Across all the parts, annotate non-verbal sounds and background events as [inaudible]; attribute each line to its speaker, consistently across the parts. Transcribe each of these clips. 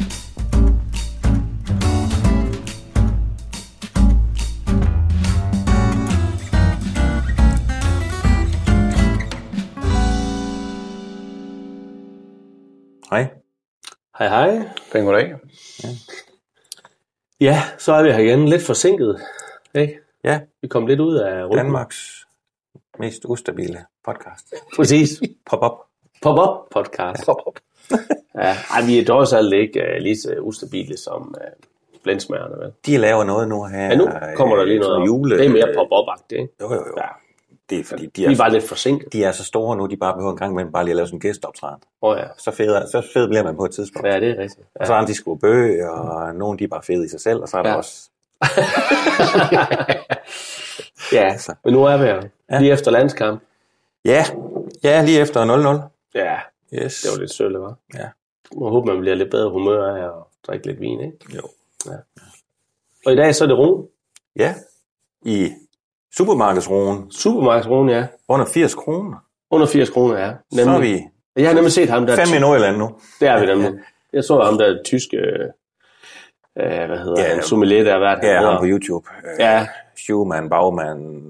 Speaker 1: Jesper.
Speaker 2: Hej.
Speaker 3: Hej hej.
Speaker 2: Pæn goddag.
Speaker 3: Ja, så er vi her igen. Lidt forsinket. Ikke?
Speaker 2: Ja,
Speaker 3: Vi kom lidt ud af runden.
Speaker 2: Danmarks mest ustabile podcast.
Speaker 3: [laughs] Præcis.
Speaker 2: Pop op.
Speaker 3: Pop-up podcast.
Speaker 2: Pop-up.
Speaker 3: Ja. Ej, vi er dog så ikke uh, lige så ustabile som uh, blindsmagerne. Vel?
Speaker 2: De laver noget nu her.
Speaker 3: Ja, nu kommer der lige
Speaker 2: sådan
Speaker 3: noget.
Speaker 2: Jule.
Speaker 3: Det er mere pop-up-agtigt. Ikke?
Speaker 2: Jo, jo, jo.
Speaker 3: Ja.
Speaker 2: Det er fordi, de
Speaker 3: Vi
Speaker 2: er,
Speaker 3: var lidt forsinket.
Speaker 2: de er så store nu, de bare behøver en gang imellem bare lige at lave sådan en gæsteoptræden.
Speaker 3: Åh oh, ja.
Speaker 2: Så fed, så fed bliver man på et tidspunkt.
Speaker 3: Ja, det er rigtigt.
Speaker 2: Og så
Speaker 3: Ja.
Speaker 2: har de sgu bøge, og nogen de er bare fede i sig selv, og så er der
Speaker 3: Ja.
Speaker 2: også...
Speaker 3: [laughs] ja,
Speaker 2: Altså.
Speaker 3: men nu er vi her.
Speaker 2: Ja.
Speaker 3: Lige efter landskamp.
Speaker 2: Ja, ja lige efter 0-0.
Speaker 3: Ja,
Speaker 2: Yes.
Speaker 3: det var lidt sølle, var.
Speaker 2: Ja.
Speaker 3: Jeg håber, man bliver lidt bedre humør af at drikke lidt vin, ikke?
Speaker 2: Jo.
Speaker 3: Ja. Og i dag så er det Ron.
Speaker 2: Ja, i supermarkedsroen
Speaker 3: Supermarkedsroen, ja.
Speaker 2: under 80 kroner.
Speaker 3: Under 80 kroner, ja.
Speaker 2: Så er vi
Speaker 3: Jeg har nemlig set ham, der...
Speaker 2: fem i Nordjylland nu.
Speaker 3: Det er vi nemlig. Jeg så ham der tyske, øh, øh, hvad hedder
Speaker 2: Ja,
Speaker 3: ja, han, sommelier der, hvad han
Speaker 2: Ja,
Speaker 3: hedder.
Speaker 2: ham på YouTube. Øh,
Speaker 3: Ja.
Speaker 2: Schumann, Baumann,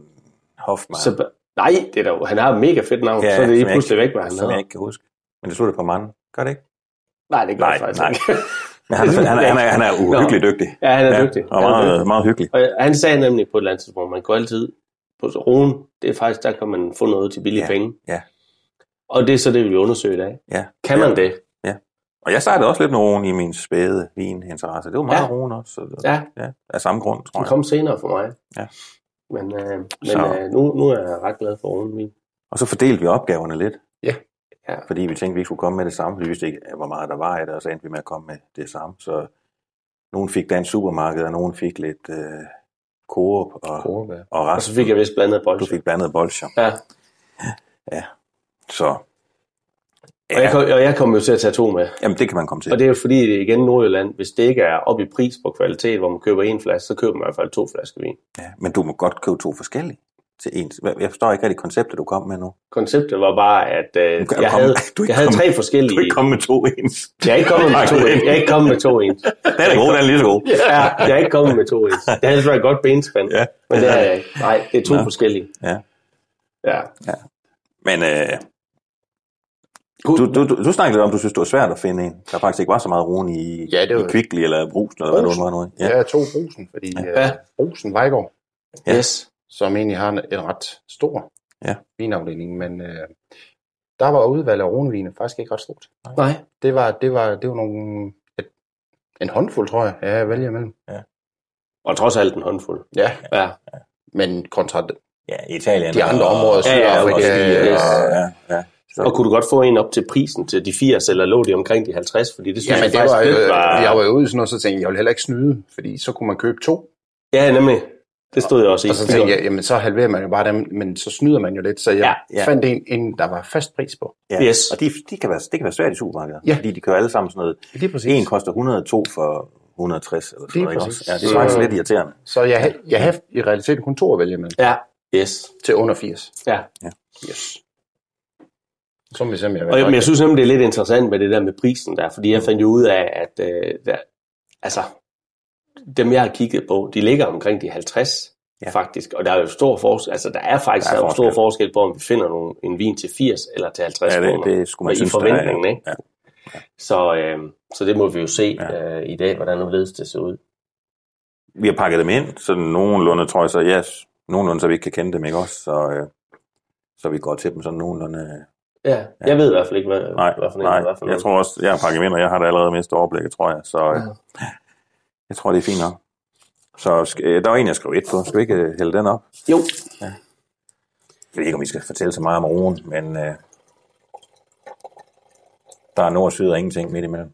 Speaker 2: Hoffmann.
Speaker 3: Så, nej, det er da, han har et mega fedt navn, ja, så er det
Speaker 2: som
Speaker 3: lige
Speaker 2: jeg
Speaker 3: pludselig
Speaker 2: ikke-
Speaker 3: væk, hvad han
Speaker 2: Som jeg
Speaker 3: hedder.
Speaker 2: ikke kan huske. Men det slutter på manden. Gør det ikke?
Speaker 3: Nej, det gør
Speaker 2: Nej,
Speaker 3: jeg faktisk
Speaker 2: nej.
Speaker 3: ikke.
Speaker 2: Men han, han, han, han, er, han er uhyggeligt
Speaker 3: Nå.
Speaker 2: dygtig.
Speaker 3: Ja, han er dygtig.
Speaker 2: Og
Speaker 3: Han er
Speaker 2: meget,
Speaker 3: dygtig.
Speaker 2: meget hyggelig.
Speaker 3: Og han sagde nemlig på et eller andet tidspunkt, man går altid på roen, det er faktisk, der kan man få noget til billige
Speaker 2: Ja,
Speaker 3: penge.
Speaker 2: ja.
Speaker 3: Og det er så det, vi vil undersøge i dag.
Speaker 2: Ja.
Speaker 3: Kan man det?
Speaker 2: Og jeg startede også lidt med roen i min spæde vininteresse. Det var meget
Speaker 3: Ja.
Speaker 2: roen også. Så,
Speaker 3: Ja.
Speaker 2: ja. Af samme grund, tror
Speaker 3: Den
Speaker 2: jeg.
Speaker 3: kom senere for mig.
Speaker 2: Ja.
Speaker 3: Men, øh, men
Speaker 2: Så-
Speaker 3: øh, nu, nu er jeg ret glad for roen min.
Speaker 2: Og så fordelte vi opgaverne lidt.
Speaker 3: Ja. Ja.
Speaker 2: Fordi vi tænkte, vi ikke skulle komme med det samme. Vi vidste ikke, hvor meget der var i det, og så endte vi med at komme med det samme. Så nogen fik dansk supermarked, og nogen fik lidt øh, Coop, og, og
Speaker 3: Og
Speaker 2: resten.
Speaker 3: så fik jeg vist blandet bolsje.
Speaker 2: Du fik blandet bolsjer.
Speaker 3: Ja,
Speaker 2: Så
Speaker 3: og, jeg kom, og jeg kom jo til at tage to med.
Speaker 2: jamen, det kan man komme til.
Speaker 3: Og det er jo fordi, det er igen Nordjylland, hvis det ikke er op i pris på kvalitet, hvor man køber en flaske, så køber man i hvert fald to flasker vin.
Speaker 2: Ja, men du må godt købe to forskellige til ens. Hvad- Jeg forstår ikke rigtig konceptet, du kom med nu.
Speaker 3: Konceptet var bare, at
Speaker 2: Du
Speaker 3: øh,
Speaker 2: er
Speaker 3: jeg,
Speaker 2: kommet- du
Speaker 3: havde,
Speaker 2: er ikke
Speaker 3: jeg havde
Speaker 2: kommet-
Speaker 3: tre
Speaker 2: Du er
Speaker 3: forskellige...
Speaker 2: ikke kommet med to
Speaker 3: [laughs]
Speaker 2: ens.
Speaker 3: Jeg er ikke kommet med to ens. Jeg er ikke kommet med to
Speaker 4: [laughs]
Speaker 3: ens.
Speaker 2: Den er god, den er lige så god.
Speaker 3: Ja, jeg er ikke kommet med to ens. Det havde været et godt benspænd,
Speaker 2: Ja.
Speaker 3: men det er jeg ikke. Nej, det er to
Speaker 2: Nå.
Speaker 3: forskellige.
Speaker 2: Ja.
Speaker 3: Ja.
Speaker 2: Men øh, du, du, du, du snakkede om, du synes, det var svært at finde en. Der faktisk ikke var så meget roen i,
Speaker 4: Ja, det
Speaker 2: i
Speaker 4: var-
Speaker 2: Kvickly eller Brugsen, eller hvad det nu var noget. Ja.
Speaker 4: Ja, to Brusen, fordi
Speaker 3: Ja.
Speaker 4: ja. øh, Brusen Vejgaard,
Speaker 2: Ja.
Speaker 3: Yes.
Speaker 4: som egentlig har en, en ret stor
Speaker 2: Ja.
Speaker 4: vinafdeling, men øh, der var udvalget af roenvine faktisk ikke ret stort.
Speaker 3: Nej.
Speaker 4: Det var, det var, det var nogle, et, en håndfuld, tror jeg, jeg vælger imellem.
Speaker 3: Og trods alt en håndfuld.
Speaker 4: Ja,
Speaker 3: Ja.
Speaker 4: men kontra de,
Speaker 2: ja, i Italien.
Speaker 4: de andre områder,
Speaker 3: ja,
Speaker 2: og,
Speaker 3: ja,
Speaker 2: og,
Speaker 4: Sydafrika,
Speaker 3: også
Speaker 2: ja,
Speaker 3: de,
Speaker 4: ja,
Speaker 3: yes.
Speaker 2: ja, ja. Så,
Speaker 3: Og kunne du godt få en op til prisen til de 80, eller lå de omkring de 50? Fordi det synes
Speaker 4: Jamen,
Speaker 3: jeg
Speaker 4: det
Speaker 3: faktisk
Speaker 4: var,
Speaker 3: lidt
Speaker 4: øh,
Speaker 3: var...
Speaker 4: jeg var jo ude i sådan noget, så tænkte jeg, jeg vil heller ikke snyde, fordi så kunne man købe to.
Speaker 3: Ja, nemlig. Det stod jeg også i.
Speaker 4: Og så tænkte jeg, jamen så halverer man jo bare dem, men så snyder man jo lidt. Så jeg
Speaker 2: Ja, ja.
Speaker 4: fandt en, en, der var fast pris på.
Speaker 2: ja.
Speaker 3: Yes.
Speaker 2: og de, de kan være, det kan være svært i supermarkedet,
Speaker 4: Ja.
Speaker 2: fordi de kører alle sammen sådan noget.
Speaker 4: Lige præcis.
Speaker 2: En koster 102 for 160 eller sådan
Speaker 4: Lige
Speaker 2: noget. ikke
Speaker 4: præcis.
Speaker 2: også? Ja, det er faktisk
Speaker 4: Så-
Speaker 2: lidt irriterende.
Speaker 4: Så jeg, ha- jeg har i realiteten kun to at vælge imellem
Speaker 3: Ja, yes.
Speaker 4: til under 80.
Speaker 3: Ja.
Speaker 4: Så må vi se, om jeg
Speaker 3: Og jeg, men
Speaker 4: vælger.
Speaker 3: jeg synes nemlig, det er lidt interessant med det der med prisen der, fordi jeg fandt jo ud af, at øh, der, altså, dem jeg har kigget på, de ligger omkring de 50 ja. faktisk. Og der er jo stor forskel, altså der er faktisk der er forskel. stor forskel på, om vi finder nogle, en vin til 80 eller til 50
Speaker 2: Ja, det-
Speaker 3: kroner.
Speaker 2: det skulle man
Speaker 3: Og
Speaker 2: synes,
Speaker 3: I
Speaker 2: der er,
Speaker 3: forventningen,
Speaker 2: ja.
Speaker 3: ikke? Så, øh, så det må vi jo se ja. øh, i dag, hvordan nu ledes det ser ud.
Speaker 2: vi har pakket dem ind, så nogenlunde tror jeg så, ja, yes, nogenlunde, så vi ikke kan kende dem, ikke også? Så, øh, så vi går til dem sådan nogenlunde... øh,
Speaker 3: Ja, ja. jeg ved i hvert fald ikke, hvad,
Speaker 2: Nej,
Speaker 3: hvad for en,
Speaker 2: nej,
Speaker 3: hvad for en.
Speaker 2: jeg tror også, jeg har pakket dem ind, og jeg har da allerede mistet overblikket, tror jeg. Så øh, jeg tror, det er fint nok. Så sk- øh, der var en, jeg skrev et på. Skal vi ikke øh, hælde den op?
Speaker 3: Jo.
Speaker 2: Ja. Jeg ved ikke, om vi skal fortælle så meget om roen, men øh, der er nord og syd og ingenting midt imellem.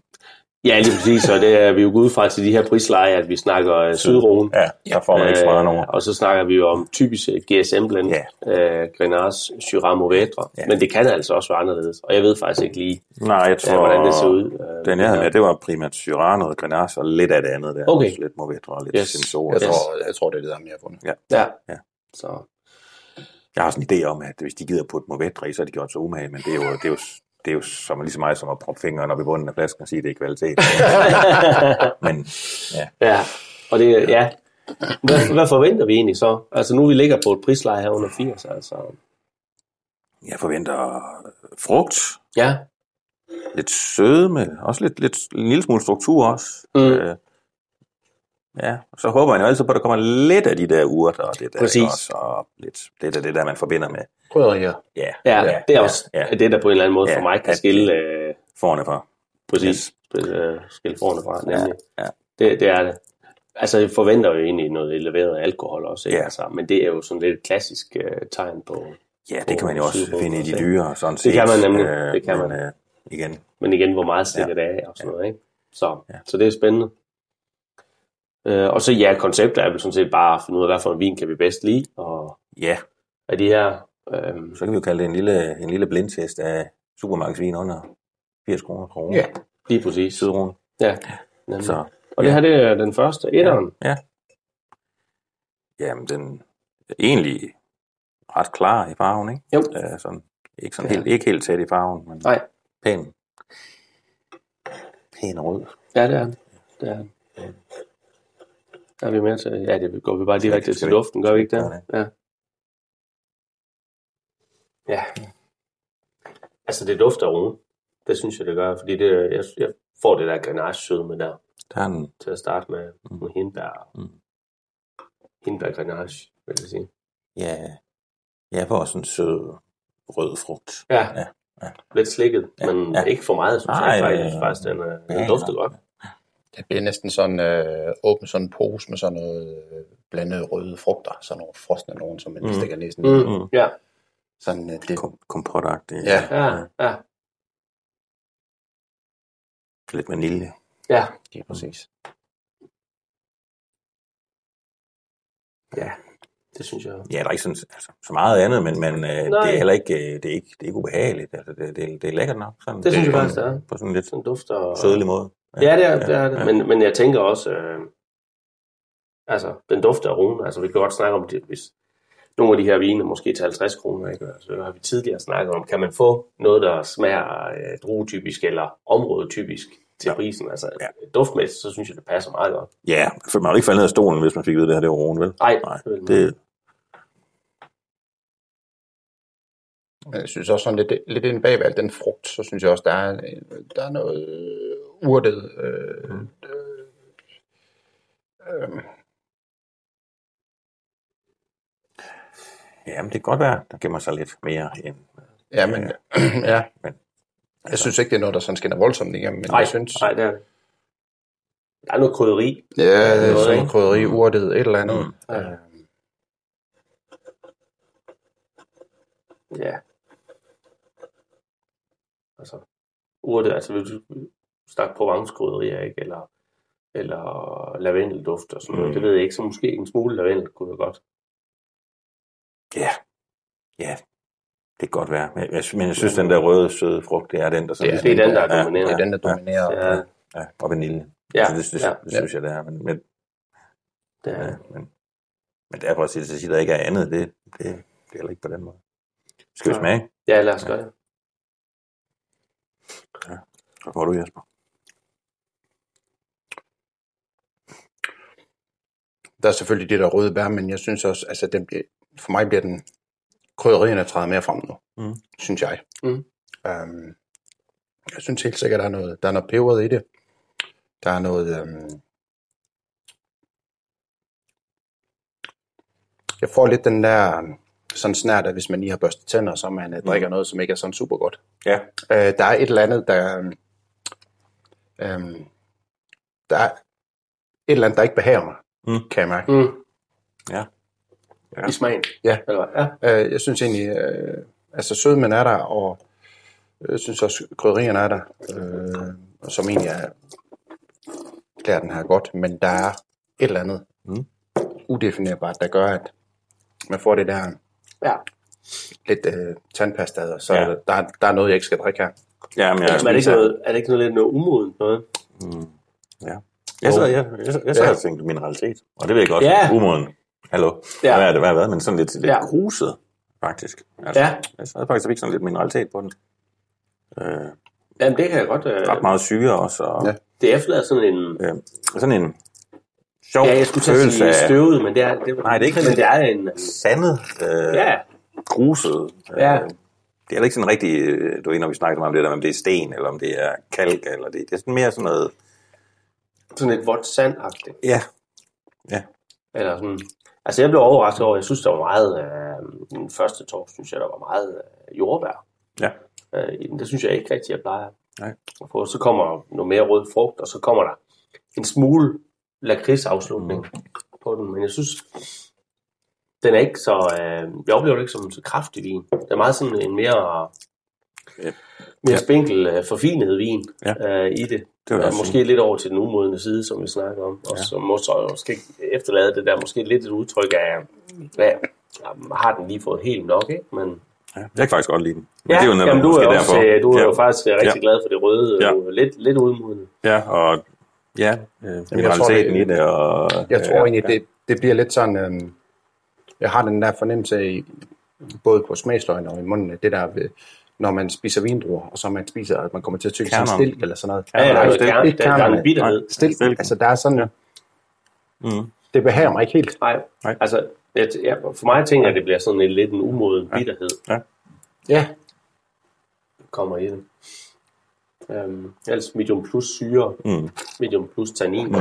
Speaker 3: Ja, lige præcis, og det er vi jo gået ud fra til de her prisleje, at vi snakker øh, Sydruen.
Speaker 2: Ja, der får man ikke så meget nogen.
Speaker 3: Øh, og så snakker vi jo om typisk øh, GSM-blend, ja. øh, Grenache, Syrah, Mourvedre, ja. men det kan altså også være anderledes, og jeg ved faktisk ikke lige,
Speaker 2: Nej, jeg tror,
Speaker 3: øh, hvordan det ser ud.
Speaker 2: den jeg havde med, det var primært Syrah, noget Grenache og lidt af det andet der.
Speaker 3: Okay.
Speaker 2: Også Lidt Mourvedre og lidt
Speaker 3: Yes.
Speaker 2: yes. Sensor.
Speaker 3: Jeg tror-
Speaker 4: jeg tror, det er det, der jeg har fundet.
Speaker 2: Ja.
Speaker 3: Ja.
Speaker 2: ja.
Speaker 3: Så.
Speaker 2: Jeg har sådan en idé om, at hvis de gider putte Mourvedre i, så har de gjort sig umage, men det er jo, det er jo, det er jo som, lige så meget som at proppe fingeren op i bunden af flasken og sige, at det er
Speaker 3: [laughs]
Speaker 2: kvalitet. men ja.
Speaker 3: Ja, og det, ja. Hvad, hvad forventer vi egentlig så? Altså nu vi ligger på et prisleje her under 80, altså.
Speaker 2: jeg forventer frugt,
Speaker 3: Ja,
Speaker 2: lidt sødme, også lidt, lidt, en lille smule struktur også.
Speaker 3: Mm.
Speaker 2: Øh, ja, og så håber man jo altid på, at der kommer lidt af de der urter og det der,
Speaker 3: Præcis.
Speaker 2: ikke også, og lidt, lidt af det der, man forbinder med.
Speaker 4: Krydderier.
Speaker 2: Ja,
Speaker 3: ja, ja det er også ja, det, der på en eller anden måde ja, for mig kan
Speaker 2: at-
Speaker 3: skille øh,
Speaker 2: forne fra.
Speaker 3: Præcis. Yes. Skille forne fra, nemlig.
Speaker 2: Ja, ja.
Speaker 3: Det, det er det. Altså, jeg forventer jo egentlig noget eleveret alkohol også, ikke?
Speaker 2: Ja.
Speaker 3: Altså, men det er jo sådan lidt et klassisk øh, tegn på...
Speaker 2: Ja, det kan man jo
Speaker 3: på
Speaker 2: også
Speaker 3: sydpå,
Speaker 2: finde i de
Speaker 3: ikke?
Speaker 2: dyre, sådan set.
Speaker 3: Det kan man nemlig,
Speaker 2: Øh,
Speaker 3: det kan
Speaker 2: men,
Speaker 3: man.
Speaker 2: Øh, igen,
Speaker 3: Men igen, hvor meget stikker ja. det af og sådan noget, ikke? Så, ja. så det er spændende. Øh, og så ja, konceptet er vel sådan set bare at finde ud af, hvad for en vin kan vi bedst lide, og
Speaker 2: ja,
Speaker 3: af de her... Øhm,
Speaker 2: så kan vi jo kalde det en lille, en lille blindtest af supermarkedsvin under 80 kroner per uge.
Speaker 3: Ja, lige præcis.
Speaker 2: Sydruen.
Speaker 3: Ja. Nemlig.
Speaker 2: Så,
Speaker 3: Og det her, det er den første, etteren.
Speaker 2: Ja. Jamen, den er egentlig ret klar i farven, ikke?
Speaker 3: Jo.
Speaker 2: Øh, sådan, ikke, sådan helt, ikke helt tæt i farven, men
Speaker 3: Nej.
Speaker 2: pæn. Pæn rød.
Speaker 3: Ja, det er den. Det er den. Der er vi med til. Ja, det går vi bare direkte til luften, gør vi ikke det? Ja. Ja. Altså, det dufter af rune. Det synes jeg, det gør, fordi det, jeg, jeg får det der grenache-sødme der
Speaker 2: Der er en,
Speaker 3: til at starte med, med hindbær.
Speaker 2: Mm.
Speaker 3: Hindbær-grenache, vil jeg sige.
Speaker 2: ja, jeg får sådan en sød rød frugt.
Speaker 3: Ja.
Speaker 2: ja.
Speaker 3: Lidt slikket, ja. men ja. ikke for meget, synes
Speaker 2: Nej,
Speaker 3: jeg faktisk.
Speaker 2: øh,
Speaker 3: Faktisk, den, øh, den
Speaker 2: ja,
Speaker 3: dufter
Speaker 2: ja.
Speaker 3: godt.
Speaker 4: Det bliver næsten sådan øh, åbent sådan en pose med sådan noget øh, blandet røde frugter, sådan nogle frosne nogen, som man
Speaker 2: Mm.
Speaker 4: mm. stikker næsen i.
Speaker 3: Mm. Ja,
Speaker 4: Sådan øh, det,
Speaker 2: Kom, kompotagtigt.
Speaker 4: ja,
Speaker 3: ja, ja.
Speaker 2: Lidt vanilje.
Speaker 3: ja.
Speaker 2: Mm.
Speaker 4: det er præcis.
Speaker 3: Ja, det synes jeg.
Speaker 2: Ja, der er ikke sådan, altså, så meget andet, men, men øh, det
Speaker 3: Nej.
Speaker 2: er heller ikke, øh, det er ikke, det er ikke ubehageligt. Altså, det, det, det er lækkert nok. Sådan,
Speaker 3: Det synes jeg
Speaker 2: på en-
Speaker 3: faktisk, det er.
Speaker 2: På sådan en lidt
Speaker 3: Den dufter...
Speaker 2: sødelig måde.
Speaker 3: Ja, det er det. Er det. Men, men jeg tænker også, øh, altså, den dufter af rune. Altså, vi kan godt snakke om det, hvis nogle af de her vine måske til 50 kroner, ikke? Altså, det har vi tidligere snakket om, kan man få noget, der smager øh, druetypisk eller områdetypisk til ja. prisen? Altså, ja. duftmæssigt, så synes jeg, det passer meget godt.
Speaker 2: Ja, for man ville ikke falde ned af stolen, hvis man fik at vide, at det her det var roen, vel?
Speaker 3: Ej,
Speaker 2: Nej,
Speaker 3: det ville man
Speaker 2: det,
Speaker 4: Men jeg synes også sådan lidt, lidt inde bag ved al den frugt, så synes jeg også, der er, der er noget øh, urtet. Øh, mm. øh, øh,
Speaker 2: jamen, det kan godt være, der gemmer sig lidt mere end...
Speaker 4: ja, men [clears throat] ja.
Speaker 2: Men-
Speaker 4: Jeg synes ikke, det er noget, der sådan skinner voldsomt igennem, men
Speaker 3: Nej,
Speaker 4: jeg synes,
Speaker 3: nej, det er det. Der er noget krydderi.
Speaker 4: ja,
Speaker 3: noget,
Speaker 4: sådan
Speaker 3: ikke?
Speaker 4: noget krydderi, urtet, et eller andet. Mm.
Speaker 3: Ja. Ja. Altså, urte, altså hvis du snakker provenskrydderier, ikke? Eller, eller lavendelduft og sådan noget.
Speaker 2: Mm.
Speaker 3: Det ved jeg ikke, så måske en smule lavendel kunne være godt.
Speaker 2: Ja, ja, det kan godt være. Men jeg, men jeg synes, den der røde, søde frugt, det er den, der... Sådan,
Speaker 4: Det er
Speaker 2: lidt-
Speaker 3: den, der er
Speaker 2: ja,
Speaker 3: dominerende.
Speaker 4: Det
Speaker 2: Ja,
Speaker 4: er den, der dominerer.
Speaker 3: Ja,
Speaker 2: ja, og vanilje.
Speaker 3: Ja,
Speaker 2: altså, det, det,
Speaker 3: ja,
Speaker 2: det, synes jeg, det er. Men, men,
Speaker 3: det er
Speaker 2: ja.
Speaker 3: det.
Speaker 2: men, men derfor at sige, at der ikke er andet, det, det, det er heller ikke på den måde. Skal vi
Speaker 3: Nej.
Speaker 2: smage?
Speaker 3: Ja, lad os gøre det.
Speaker 2: Hvad får du, Jesper?
Speaker 4: Der er selvfølgelig det der røde bær, men jeg synes også, altså den bliver, for mig bliver den krydderierne træder mere frem nu,
Speaker 3: Mm.
Speaker 4: synes jeg.
Speaker 3: Mm.
Speaker 4: Øhm, jeg synes helt sikkert, der er noget, der er noget peberet i det. Der er noget... Øhm, jeg får lidt den der øhm, sådan snært, at hvis man lige har børstet tænder, så man mm. drikker noget, som ikke er sådan super godt.
Speaker 2: Ja.
Speaker 4: Øh, der er et eller andet, der... øhm, Øhm, der er et eller andet, der ikke behager mig,
Speaker 2: Mm.
Speaker 4: kan jeg mærke.
Speaker 3: Mm.
Speaker 2: Ja. Ja.
Speaker 3: I smagen.
Speaker 4: Ja.
Speaker 3: Eller, hvad? ja.
Speaker 4: Øh, jeg synes egentlig, øh, altså sødmen er der, og jeg synes også, krydderierne er der, øh, og som egentlig er, klæder den her godt, men der er et eller andet
Speaker 2: Mm.
Speaker 4: udefinerbart, der gør, at man får det der
Speaker 3: ja.
Speaker 4: lidt øh, tandpasta, så
Speaker 2: Ja.
Speaker 4: ja. der, der er noget, jeg ikke skal drikke her.
Speaker 2: Ja, men jeg,
Speaker 3: Men er det ikke noget, er det ikke noget lidt noget umodent noget?
Speaker 2: jeg, så, jeg, jeg, jeg, så
Speaker 4: Ja.
Speaker 2: har tænkt mineralitet, og det ved jeg godt.
Speaker 3: Ja.
Speaker 2: Umoden. Hallo.
Speaker 3: Ja.
Speaker 2: Ja. Hvad er det, hvad, hvad? Men sådan lidt, lidt
Speaker 3: Ja.
Speaker 2: ja. gruset, faktisk. Altså,
Speaker 3: Ja.
Speaker 2: Jeg sad faktisk og fik sådan lidt mineralitet på den. Øh,
Speaker 3: Jamen, det kan jeg godt. Øh,
Speaker 2: ret meget syre også, og
Speaker 4: Ja.
Speaker 2: ja.
Speaker 3: det efterlader sådan en...
Speaker 2: øh, sådan en sjov
Speaker 3: Ja, jeg skulle til at
Speaker 2: følelse
Speaker 3: sige
Speaker 2: af
Speaker 3: støvet, men det er... Det,
Speaker 2: Nej, det er ikke
Speaker 3: Men
Speaker 2: sådan.
Speaker 3: det er en...
Speaker 2: sandet, øh, ja.
Speaker 3: Ja,
Speaker 2: gruset.
Speaker 3: Ja.
Speaker 2: Øh, det er ikke sådan rigtig, øh, du ved, når vi snakker om det der, om det er sten, eller om det er kalk, eller det, det er sådan mere sådan noget,
Speaker 3: sådan lidt vådt sandagtigt.
Speaker 2: ja,
Speaker 3: Eller sådan. Altså, jeg blev overrasket over, jeg synes, der var meget... Øh, den første tår, synes jeg, der var meget øh, jordbær.
Speaker 2: ja,
Speaker 3: Øh, i den. det synes jeg ikke rigtig, jeg plejer.
Speaker 2: Nej.
Speaker 3: at få. så kommer noget mere rød frugt, og så kommer der en smule lakridsafslutning mm. på den. Men jeg synes, den er ikke så... Øh, jeg oplever det ikke som en så kraftig vin. Det er meget sådan en mere...
Speaker 2: Ja.
Speaker 3: Mere
Speaker 2: Ja.
Speaker 3: spinkel, øh, forfinet vin
Speaker 2: Ja.
Speaker 3: øh, i det.
Speaker 2: det var
Speaker 3: Ja,
Speaker 2: også
Speaker 3: måske lidt over til den umodende side, som vi snakker om, og ja. som måske, måske efterlade det der, måske lidt et udtryk af, hvad, har den lige fået helt nok, ikke? Men,
Speaker 2: Ja, jeg kan faktisk godt lide den. Men
Speaker 3: ja,
Speaker 2: det er jo netop
Speaker 3: jamen, du er,
Speaker 2: måske
Speaker 3: også, øh, du er
Speaker 2: ja.
Speaker 3: jo faktisk øh, rigtig
Speaker 2: Ja.
Speaker 3: glad for det røde,
Speaker 2: Ja.
Speaker 3: ja. lidt, lidt udmodende.
Speaker 2: Ja, og ja, øh, mineraliteten i
Speaker 4: det-
Speaker 2: det, og...
Speaker 4: Jeg tror
Speaker 2: Øh, ja,
Speaker 4: egentlig, det, det bliver lidt sådan, øhm, jeg har den der fornemmelse i, både på smagsløgene og i munden, at det der, ved, når man spiser vindruer, og så man spiser, at man kommer til at tykke sådan
Speaker 2: Kernerne.
Speaker 4: stilk eller sådan noget.
Speaker 2: Ja, ja,
Speaker 3: der,
Speaker 4: Nej,
Speaker 3: er,
Speaker 4: det-
Speaker 3: der, er,
Speaker 4: det
Speaker 3: der, der er en
Speaker 4: kernerne.
Speaker 3: bitterhed.
Speaker 4: Stilk,
Speaker 2: Stilken.
Speaker 4: altså der er sådan, ja.
Speaker 2: Mm,
Speaker 4: det behager mig ikke helt.
Speaker 3: Nej,
Speaker 2: Nej.
Speaker 3: altså, jeg, jeg, for mig tænker jeg, at det bliver sådan en, lidt en umoden bitterhed,
Speaker 4: Ja,
Speaker 3: der kommer i det. Um, ellers medium plus syre,
Speaker 2: mm,
Speaker 3: medium plus tannin.
Speaker 2: mm.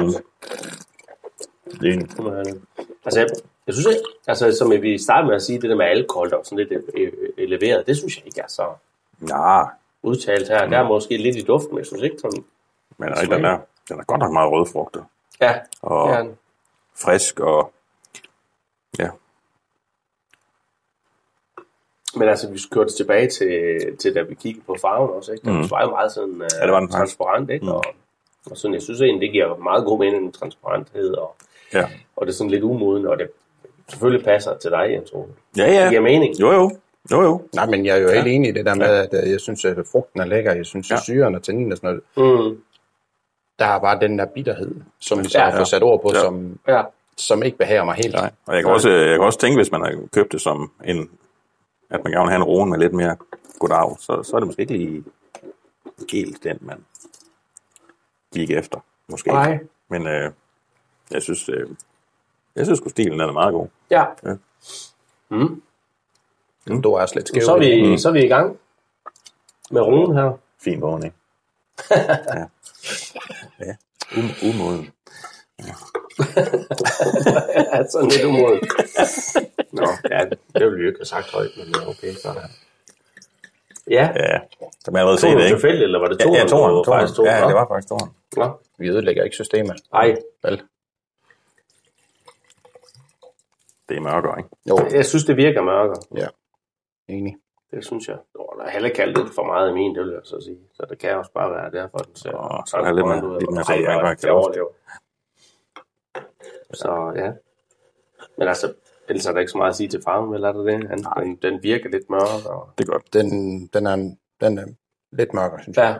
Speaker 2: Det er en,
Speaker 3: Kunne man have det. Altså, jeg, jeg synes ikke, altså, som vi startede med at sige, det der med alkohol, der var sådan lidt øh, øh, eleveret, det synes jeg ikke er så
Speaker 2: nej,
Speaker 3: udtalt her. Der er
Speaker 2: Mm.
Speaker 3: måske lidt i duften, men jeg synes ikke sådan.
Speaker 2: men er ikke den der, den er godt nok meget rødfrugtet,
Speaker 3: Ja,
Speaker 2: Og-
Speaker 3: det er den.
Speaker 2: frisk, og ja,
Speaker 3: men altså, vi kørte tilbage til, til da vi kiggede på farven også, ikke? Den
Speaker 2: Mm.
Speaker 3: var jo meget sådan øh,
Speaker 2: Ja, det var den faktisk.
Speaker 3: transparent, ikke?
Speaker 2: Mm.
Speaker 3: Og, og sådan, jeg synes egentlig, det giver meget god mening med transparenthed, og,
Speaker 2: ja.
Speaker 3: og det er sådan lidt umodende, og det selvfølgelig passer til dig, Jens Ole.
Speaker 2: Ja,
Speaker 3: Det giver
Speaker 2: ja,
Speaker 3: mening.
Speaker 2: jo jo, jo jo,
Speaker 4: nej, men jeg er jo helt enig i det der med, at øh, jeg synes, at frugten er lækker, jeg synes, at
Speaker 2: Ja.
Speaker 4: syren og tannin og sådan noget,
Speaker 3: Mm.
Speaker 4: der er bare den der bitterhed, som vi så
Speaker 3: Ja.
Speaker 4: har fået sat ord på,
Speaker 2: Ja.
Speaker 4: som,
Speaker 3: Ja.
Speaker 4: som ikke behager mig helt.
Speaker 2: nej, og jeg kan, også, jeg kan også tænke, hvis man har købt det som en, at man gerne vil have en roen med lidt mere goddag, så, så er det måske ikke lige helt den, man gik efter, måske.
Speaker 3: Nej.
Speaker 2: Men øh, jeg synes, øh, jeg synes sgu stilen den er meget god.
Speaker 3: Ja.
Speaker 2: Ja.
Speaker 3: Mm.
Speaker 4: Mm. Du er også lidt skæv.
Speaker 3: Så er,
Speaker 4: i det.
Speaker 2: Mm.
Speaker 3: vi, så er vi i gang med runen her. [laughs]
Speaker 2: Fin vågen, ikke? ja. ja. Um, umoden.
Speaker 3: Ja, sådan lidt umodet. Nå, ja, det ville vi jo ikke have sagt højt, men ja, okay, så er det. Ja,
Speaker 2: Ja, som jeg allerede
Speaker 3: tog
Speaker 2: set
Speaker 3: du
Speaker 2: det, ikke?
Speaker 3: tilfældigt, eller var det to?
Speaker 2: ja, toren,
Speaker 3: Det var
Speaker 2: toren.
Speaker 3: faktisk to.
Speaker 2: Ja,
Speaker 3: Nå.
Speaker 2: det var faktisk toren.
Speaker 3: Nå.
Speaker 4: vi ødelægger ikke systemet.
Speaker 3: Ej,
Speaker 4: Vel?
Speaker 2: Det er mørkere, ikke?
Speaker 4: Jo,
Speaker 3: jeg synes, det virker mørkere.
Speaker 4: enig.
Speaker 3: Det synes jeg. Nå, der er heller kaldt lidt for meget af min, det vil jeg så sige. Så det kan også bare være derfor, den ser.
Speaker 2: Åh, så er der lidt mere-
Speaker 3: ud.
Speaker 2: lidt mere
Speaker 3: Ej,
Speaker 2: sådan, jeg bare
Speaker 3: jeg,
Speaker 2: kan
Speaker 3: jeg
Speaker 2: lufte.
Speaker 3: overlever. Så ja. Men altså, ellers er der ikke så meget at sige til farven, vel er der det? Han, den, den virker lidt mørkere. og-
Speaker 2: Det er godt.
Speaker 4: Den, den, er, den er lidt mørkere, synes jeg.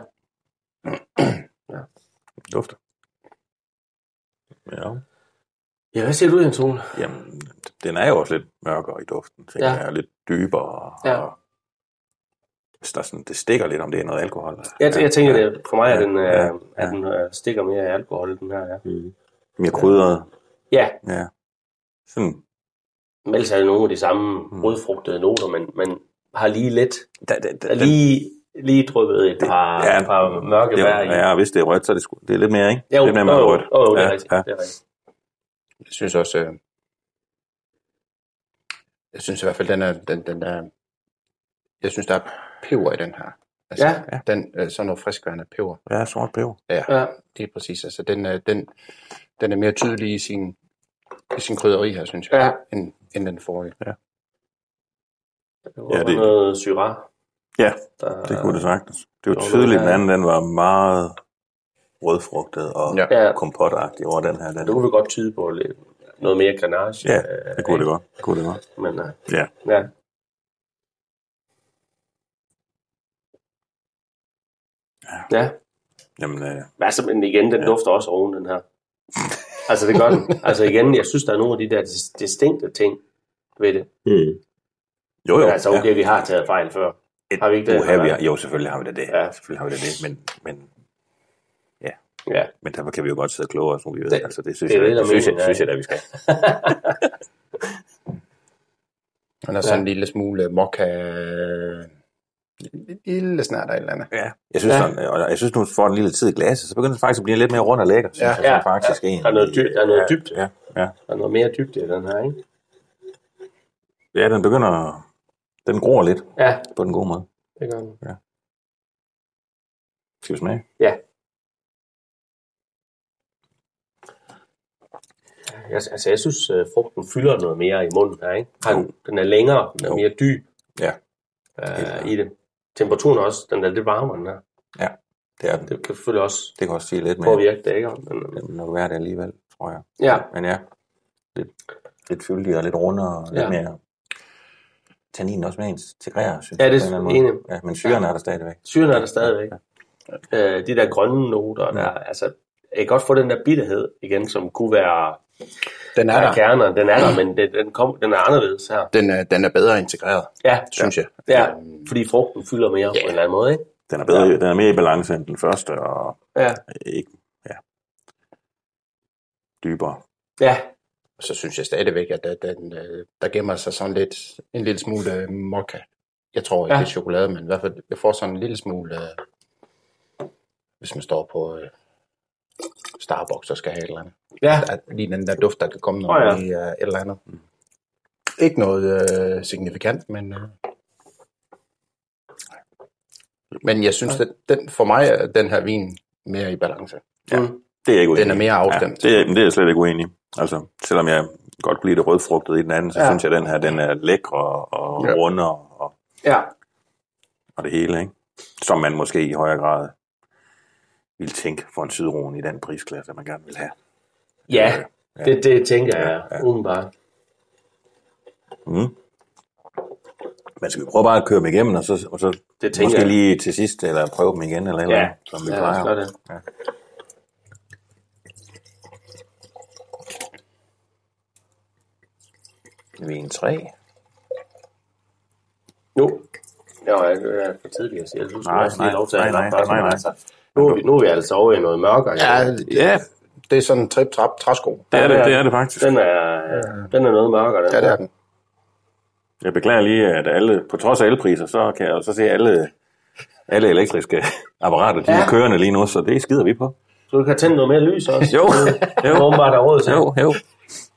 Speaker 3: Ja,
Speaker 2: Duft. Ja.
Speaker 3: ja hvad siger du, Jens Ole?
Speaker 2: Jamen, den er jo også lidt mørkere i duften, tænker
Speaker 3: Ja.
Speaker 2: ja. jeg. Lidt dybere.
Speaker 3: Ja.
Speaker 2: Og hvis der er sådan, det stikker lidt, om det er noget alkohol.
Speaker 3: Jeg, jeg tænker, det, for mig er
Speaker 2: Ja,
Speaker 3: den,
Speaker 2: ja, Mm.
Speaker 3: øh, at den øh, stikker mere af alkohol, den her. Ja.
Speaker 2: Mere krydret.
Speaker 3: ja,
Speaker 2: Ja. Sådan.
Speaker 3: Men ellers er det nogle af de samme mm. rødfrugtede noter, men man har lige lidt,
Speaker 2: da, da, da,
Speaker 3: er lige, lige dryppet et par,
Speaker 2: ja,
Speaker 3: ja, et par mørke
Speaker 2: det
Speaker 3: bær
Speaker 2: er,
Speaker 3: i.
Speaker 2: ja, og hvis det er rødt, så er det, sgu, det er lidt mere, ikke?
Speaker 3: Jo,
Speaker 2: lidt mere meget
Speaker 3: jo,
Speaker 2: rødt.
Speaker 3: jo, jo, det er
Speaker 2: ja,
Speaker 3: rigtigt,
Speaker 2: Ja.
Speaker 3: det er rigtigt.
Speaker 4: Jeg synes også, øh, jeg synes i hvert fald, den er, den, den er, jeg synes, der er peber i den her. Altså,
Speaker 3: Ja,
Speaker 4: ja. Den, øh, sådan noget friskværende peber.
Speaker 2: Ja, sort peber.
Speaker 4: Ja,
Speaker 3: Ja.
Speaker 4: ja. det er præcis. Altså, den, øh, den, den er mere tydelig i sin, i sin krydderi her, synes jeg, ja. end, end den forrige.
Speaker 3: Det
Speaker 2: Ja,
Speaker 3: var ja,
Speaker 2: det-
Speaker 3: det... noget syra.
Speaker 2: Ja,
Speaker 3: der-
Speaker 2: det kunne det sagtens. Det var
Speaker 3: Jo,
Speaker 2: tydeligt,
Speaker 3: det
Speaker 2: at
Speaker 3: er-
Speaker 2: den anden den var meget rødfrugtet og ja.
Speaker 3: Ja,
Speaker 2: kompotagtig over den her. Den.
Speaker 3: det kunne vi godt tyde på lidt. Noget mere granage.
Speaker 2: Ja,
Speaker 3: øh,
Speaker 2: det kunne det godt. Det kunne det godt.
Speaker 3: Men, øh,
Speaker 2: Ja.
Speaker 3: ja. Ja,
Speaker 2: Jamen, øh,
Speaker 3: men altså, men igen, den ja. dufter også oven, den her. Altså, det gør den. Altså, igen, jeg synes, der er nogle af de der dis- distinkte ting ved det.
Speaker 2: mm. jo, jo.
Speaker 3: men altså, okay, ja. vi har taget fejl før.
Speaker 2: Et,
Speaker 3: Har vi ikke det?
Speaker 2: Uha, vi har, jo, selvfølgelig har vi da det.
Speaker 3: Ja.
Speaker 2: Ja. Selvfølgelig har vi da det, men, men,
Speaker 3: Ja,
Speaker 2: men derfor kan vi jo godt sidde klogere, som vi ved.
Speaker 3: Det-
Speaker 2: altså, det synes,
Speaker 3: det er
Speaker 2: jeg,
Speaker 3: det,
Speaker 2: det,
Speaker 3: der er
Speaker 2: synes, jeg,
Speaker 3: meningen, ja.
Speaker 2: synes jeg da, vi skal.
Speaker 4: Den er sådan
Speaker 3: Ja.
Speaker 4: en lille smule mokka, øh, en lille snart af et eller andet.
Speaker 2: Ja. Jeg synes,
Speaker 3: Ja.
Speaker 2: ja. Sådan, og jeg synes, nu får den lille tid i glasset, så begynder den faktisk at blive lidt mere rund og lækker. Synes
Speaker 4: Ja.
Speaker 2: jeg, sådan
Speaker 3: Ja.
Speaker 2: faktisk
Speaker 3: Ja.
Speaker 2: egentlig.
Speaker 3: Der er noget dybt- der er noget dybt.
Speaker 2: Ja, ja.
Speaker 3: [laughs] der er noget mere dybde i den her, ikke?
Speaker 2: ja, den begynder... at- Den gror lidt
Speaker 3: Ja,
Speaker 2: på den gode måde.
Speaker 3: det gør den.
Speaker 2: Skal vi smage?
Speaker 3: Ja. Jeg, altså, jeg synes, øh, frugten fylder noget mere i munden her, ikke? Har Den, den er længere, den er
Speaker 2: Jo.
Speaker 3: mere dyb
Speaker 2: Ja, Helt klart.
Speaker 3: øh, i det. Temperaturen er også, den er lidt varmere, den her.
Speaker 2: det er den.
Speaker 3: Det kan selvfølgelig også
Speaker 2: Det kan også sige lidt mere.
Speaker 3: påvirke det, ikke? Men,
Speaker 2: Det vil nok være det alligevel, tror jeg.
Speaker 3: ja,
Speaker 2: Men ja, lidt, lidt fyldigere, lidt rundere, og lidt
Speaker 3: Ja.
Speaker 2: mere... Tanninen også med ens til græer, synes
Speaker 3: Ja,
Speaker 2: jeg,
Speaker 3: det
Speaker 2: på
Speaker 3: er
Speaker 2: en eller anden
Speaker 3: enig.
Speaker 2: måde. Ja, men syren er der stadigvæk.
Speaker 3: syren er der stadigvæk. Øh, de der grønne noter, der, altså, jeg kan godt få den der bitterhed igen, som kunne være
Speaker 4: Den er
Speaker 3: der
Speaker 4: der.
Speaker 3: kerner. Den er der, men den, den, kom, den er anderledes her.
Speaker 4: Den er, den er bedre integreret,
Speaker 3: Ja,
Speaker 4: synes jeg. Øh,
Speaker 3: ja, fordi frugten fylder mere på en eller anden måde, ikke?
Speaker 2: Den er, bedre, den er mere i balance end den første, og
Speaker 3: Ja,
Speaker 2: ikke, ja, dybere.
Speaker 3: ja,
Speaker 4: Og så synes jeg stadigvæk, at der, den, øh, der gemmer sig sådan lidt, en lille smule øh, mokka. Jeg tror ikke,
Speaker 3: Ja.
Speaker 4: ja. det er chokolade, men i hvert fald, jeg får sådan en lille smule, øh, hvis man står på øh, Starbucks og skal have et eller andet.
Speaker 3: ja.
Speaker 4: Der er lige den der duft, der kan komme
Speaker 3: Åh,
Speaker 4: noget
Speaker 3: ja.
Speaker 4: oh, ja. et eller andet. Ikke noget øh, signifikant, men... Øh, men jeg synes, den, den, for mig er den her vin mere i balance.
Speaker 2: Ja,
Speaker 3: Mm.
Speaker 2: det er jeg ikke uenig
Speaker 4: Den er
Speaker 2: i.
Speaker 4: mere afstemt.
Speaker 2: Ja, det, er, men det er jeg slet ikke uenig i. Altså, selvom jeg godt kunne lide det rødfrugtede i den anden, så
Speaker 3: Ja.
Speaker 2: ja. synes jeg, at den her den er lækre og
Speaker 4: Ja.
Speaker 2: ja. rundere og,
Speaker 3: Ja,
Speaker 2: og det hele, ikke? Som man måske i højere grad ville tænke for en sydron i den prisklasse, man gerne vil have.
Speaker 3: ja.
Speaker 2: Ja.
Speaker 3: Det, det tænker
Speaker 2: Ja,
Speaker 3: jeg
Speaker 2: ja.
Speaker 3: udenbart.
Speaker 2: Mm. Men skal vi prøve bare at køre dem igennem, og så, og så
Speaker 3: Det tænker
Speaker 2: måske
Speaker 3: jeg.
Speaker 2: lige til sidst, eller prøve dem igen, eller, et eller
Speaker 3: Ja,
Speaker 2: andet, som vi
Speaker 3: ja,
Speaker 2: plejer.
Speaker 3: lad os gøre det.
Speaker 2: Ja. Vin 3.
Speaker 3: Nu. Ja, jeg jeg er øh, for tidlig at sige. Jeg synes,
Speaker 2: Nej,
Speaker 3: nej, også lige
Speaker 2: nej,
Speaker 3: lov til at
Speaker 2: nej,
Speaker 3: have
Speaker 2: nej,
Speaker 3: nok bare
Speaker 2: nej, nej.
Speaker 3: sådan, altså. Nu er, vi, nu er vi altså over i noget mørkere.
Speaker 4: Ja,
Speaker 2: Ja,
Speaker 4: det er sådan en trip-trap-træsko.
Speaker 2: det er det, det er det faktisk.
Speaker 3: Den er, den er noget mørkere. Den
Speaker 4: Ja, det
Speaker 3: her.
Speaker 4: er den.
Speaker 2: Jeg beklager lige, at alle, på trods af elpriser, så kan jeg jo så se at alle, alle elektriske apparater, de ja.
Speaker 3: Ja.
Speaker 2: er kørende lige nu, så det skider vi på.
Speaker 3: Så du kan tænde noget mere lys også.
Speaker 2: Jo,
Speaker 3: Det er
Speaker 2: [laughs] jo,
Speaker 3: åbenbart, der er råd til.
Speaker 2: jo, jo.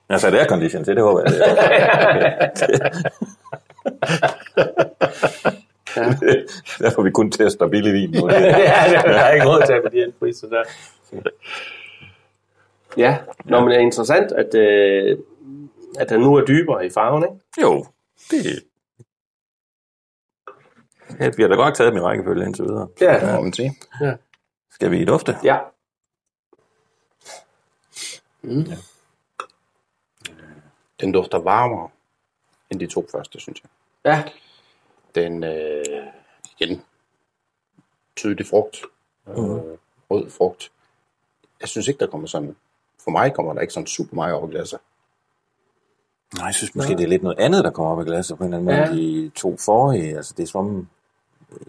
Speaker 2: Jeg satte aircondition til, det håber jeg. Det er. Derfor vi kun tester billig vin nu.
Speaker 3: [laughs] ja, der er ikke råd til at de priser der. Ja, Nå, men det er interessant, at, øh, at den nu er dybere i farven, ikke?
Speaker 2: Jo, det Ja, vi har da godt taget dem i rækkefølge indtil videre.
Speaker 4: Ja.
Speaker 3: Ja,
Speaker 4: Må man sige.
Speaker 2: Skal vi dufte?
Speaker 3: ja.
Speaker 4: Den dufter varmere end de to første, synes jeg.
Speaker 3: ja.
Speaker 4: Den, øh, igen, tydelig frugt,
Speaker 3: Mhm.
Speaker 4: øh, rød frugt. Jeg synes ikke, der kommer sådan, for mig kommer der ikke sådan super meget over glasser.
Speaker 2: Nej, jeg synes måske, det er lidt noget andet, der kommer op i glasset på en eller anden måde. Ja. De to forrige, altså det er som om,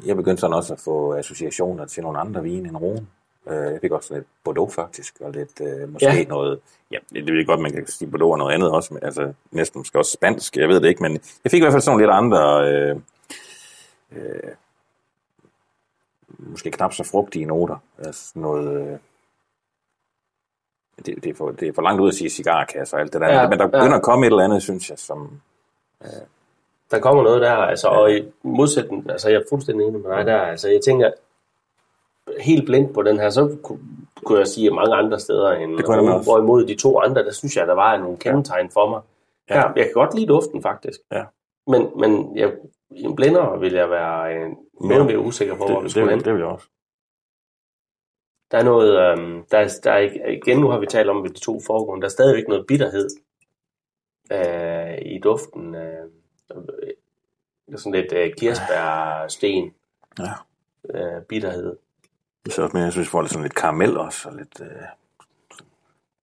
Speaker 2: jeg begyndte sådan også at få associationer til nogle andre vine end Rune. Øh, jeg fik også sådan lidt Bordeaux faktisk, og lidt øh, måske ja. noget... Ja, det ved jeg godt, man kan sige Bordeaux og noget andet også. Men, altså, næsten måske også spansk, jeg ved det ikke. Men jeg fik i hvert fald sådan nogle lidt andre... Øh, øh, måske knap så frugtige noter. Altså noget... Øh, det, det, er for, det er for langt ud at sige cigarkasser og alt det der. Ja, men der begynder ja. at komme et eller andet, synes jeg, som... Øh,
Speaker 3: der kommer noget der, altså, og i modsætning, altså jeg er fuldstændig enig med dig der, altså jeg tænker, helt blind på den her, så kunne, kunne jeg sige at mange andre steder end
Speaker 2: det kunne
Speaker 3: og, hvorimod de to andre, der synes jeg, der var nogle kendetegn for mig. Ja. Her, jeg kan godt lide duften faktisk,
Speaker 2: ja.
Speaker 3: men, men jeg, i en blender vil jeg være en, noget ja. mere usikker på,
Speaker 2: det,
Speaker 3: hvor vi
Speaker 2: det,
Speaker 3: skulle
Speaker 2: det,
Speaker 3: hen.
Speaker 2: det vil jeg også.
Speaker 3: Der er noget, øhm, der, er, der er, igen nu har vi talt om ved de to foregående, der er stadigvæk noget bitterhed øh, i duften. Øh, øh, sådan lidt øh, kirsebærsten
Speaker 2: Ja.
Speaker 3: øh, bitterhed.
Speaker 2: Det er så også mere, jeg synes, folk er sådan lidt karamel også, og lidt... Øh,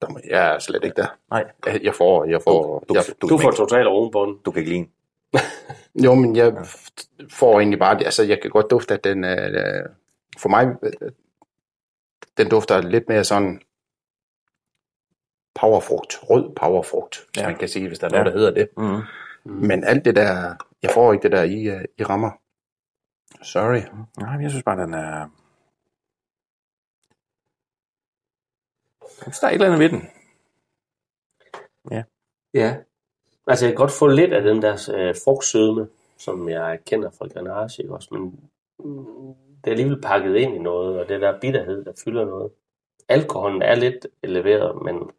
Speaker 4: Der, må- jeg er slet ikke der.
Speaker 2: nej,
Speaker 4: Jeg- Jeg får, jeg får,
Speaker 2: du,
Speaker 4: jeg,
Speaker 3: Du får totalt ovenbund.
Speaker 2: du kan ikke lide en.
Speaker 4: Jo, men jeg f- får egentlig bare, altså jeg kan godt dufte, at den, øh, for mig, øh, den dufter lidt mere sådan powerfrugt, rød powerfrugt, ja.
Speaker 2: Ja.
Speaker 4: man kan sige, hvis der er
Speaker 2: Ja.
Speaker 4: noget, der hedder det.
Speaker 2: Mm.
Speaker 4: Men alt det der, jeg får ikke det der, I, øh, I rammer. Sorry.
Speaker 2: Nej, men jeg synes bare, den er... Jeg synes, der er et eller andet ved den.
Speaker 3: Ja. Altså, jeg kan godt få lidt af den der øh, frugtsødme, som jeg kender fra Grenache ikke også, men mm, det er alligevel pakket ind i noget, og det der bitterhed, der fylder noget. Alkoholen er lidt eleveret, men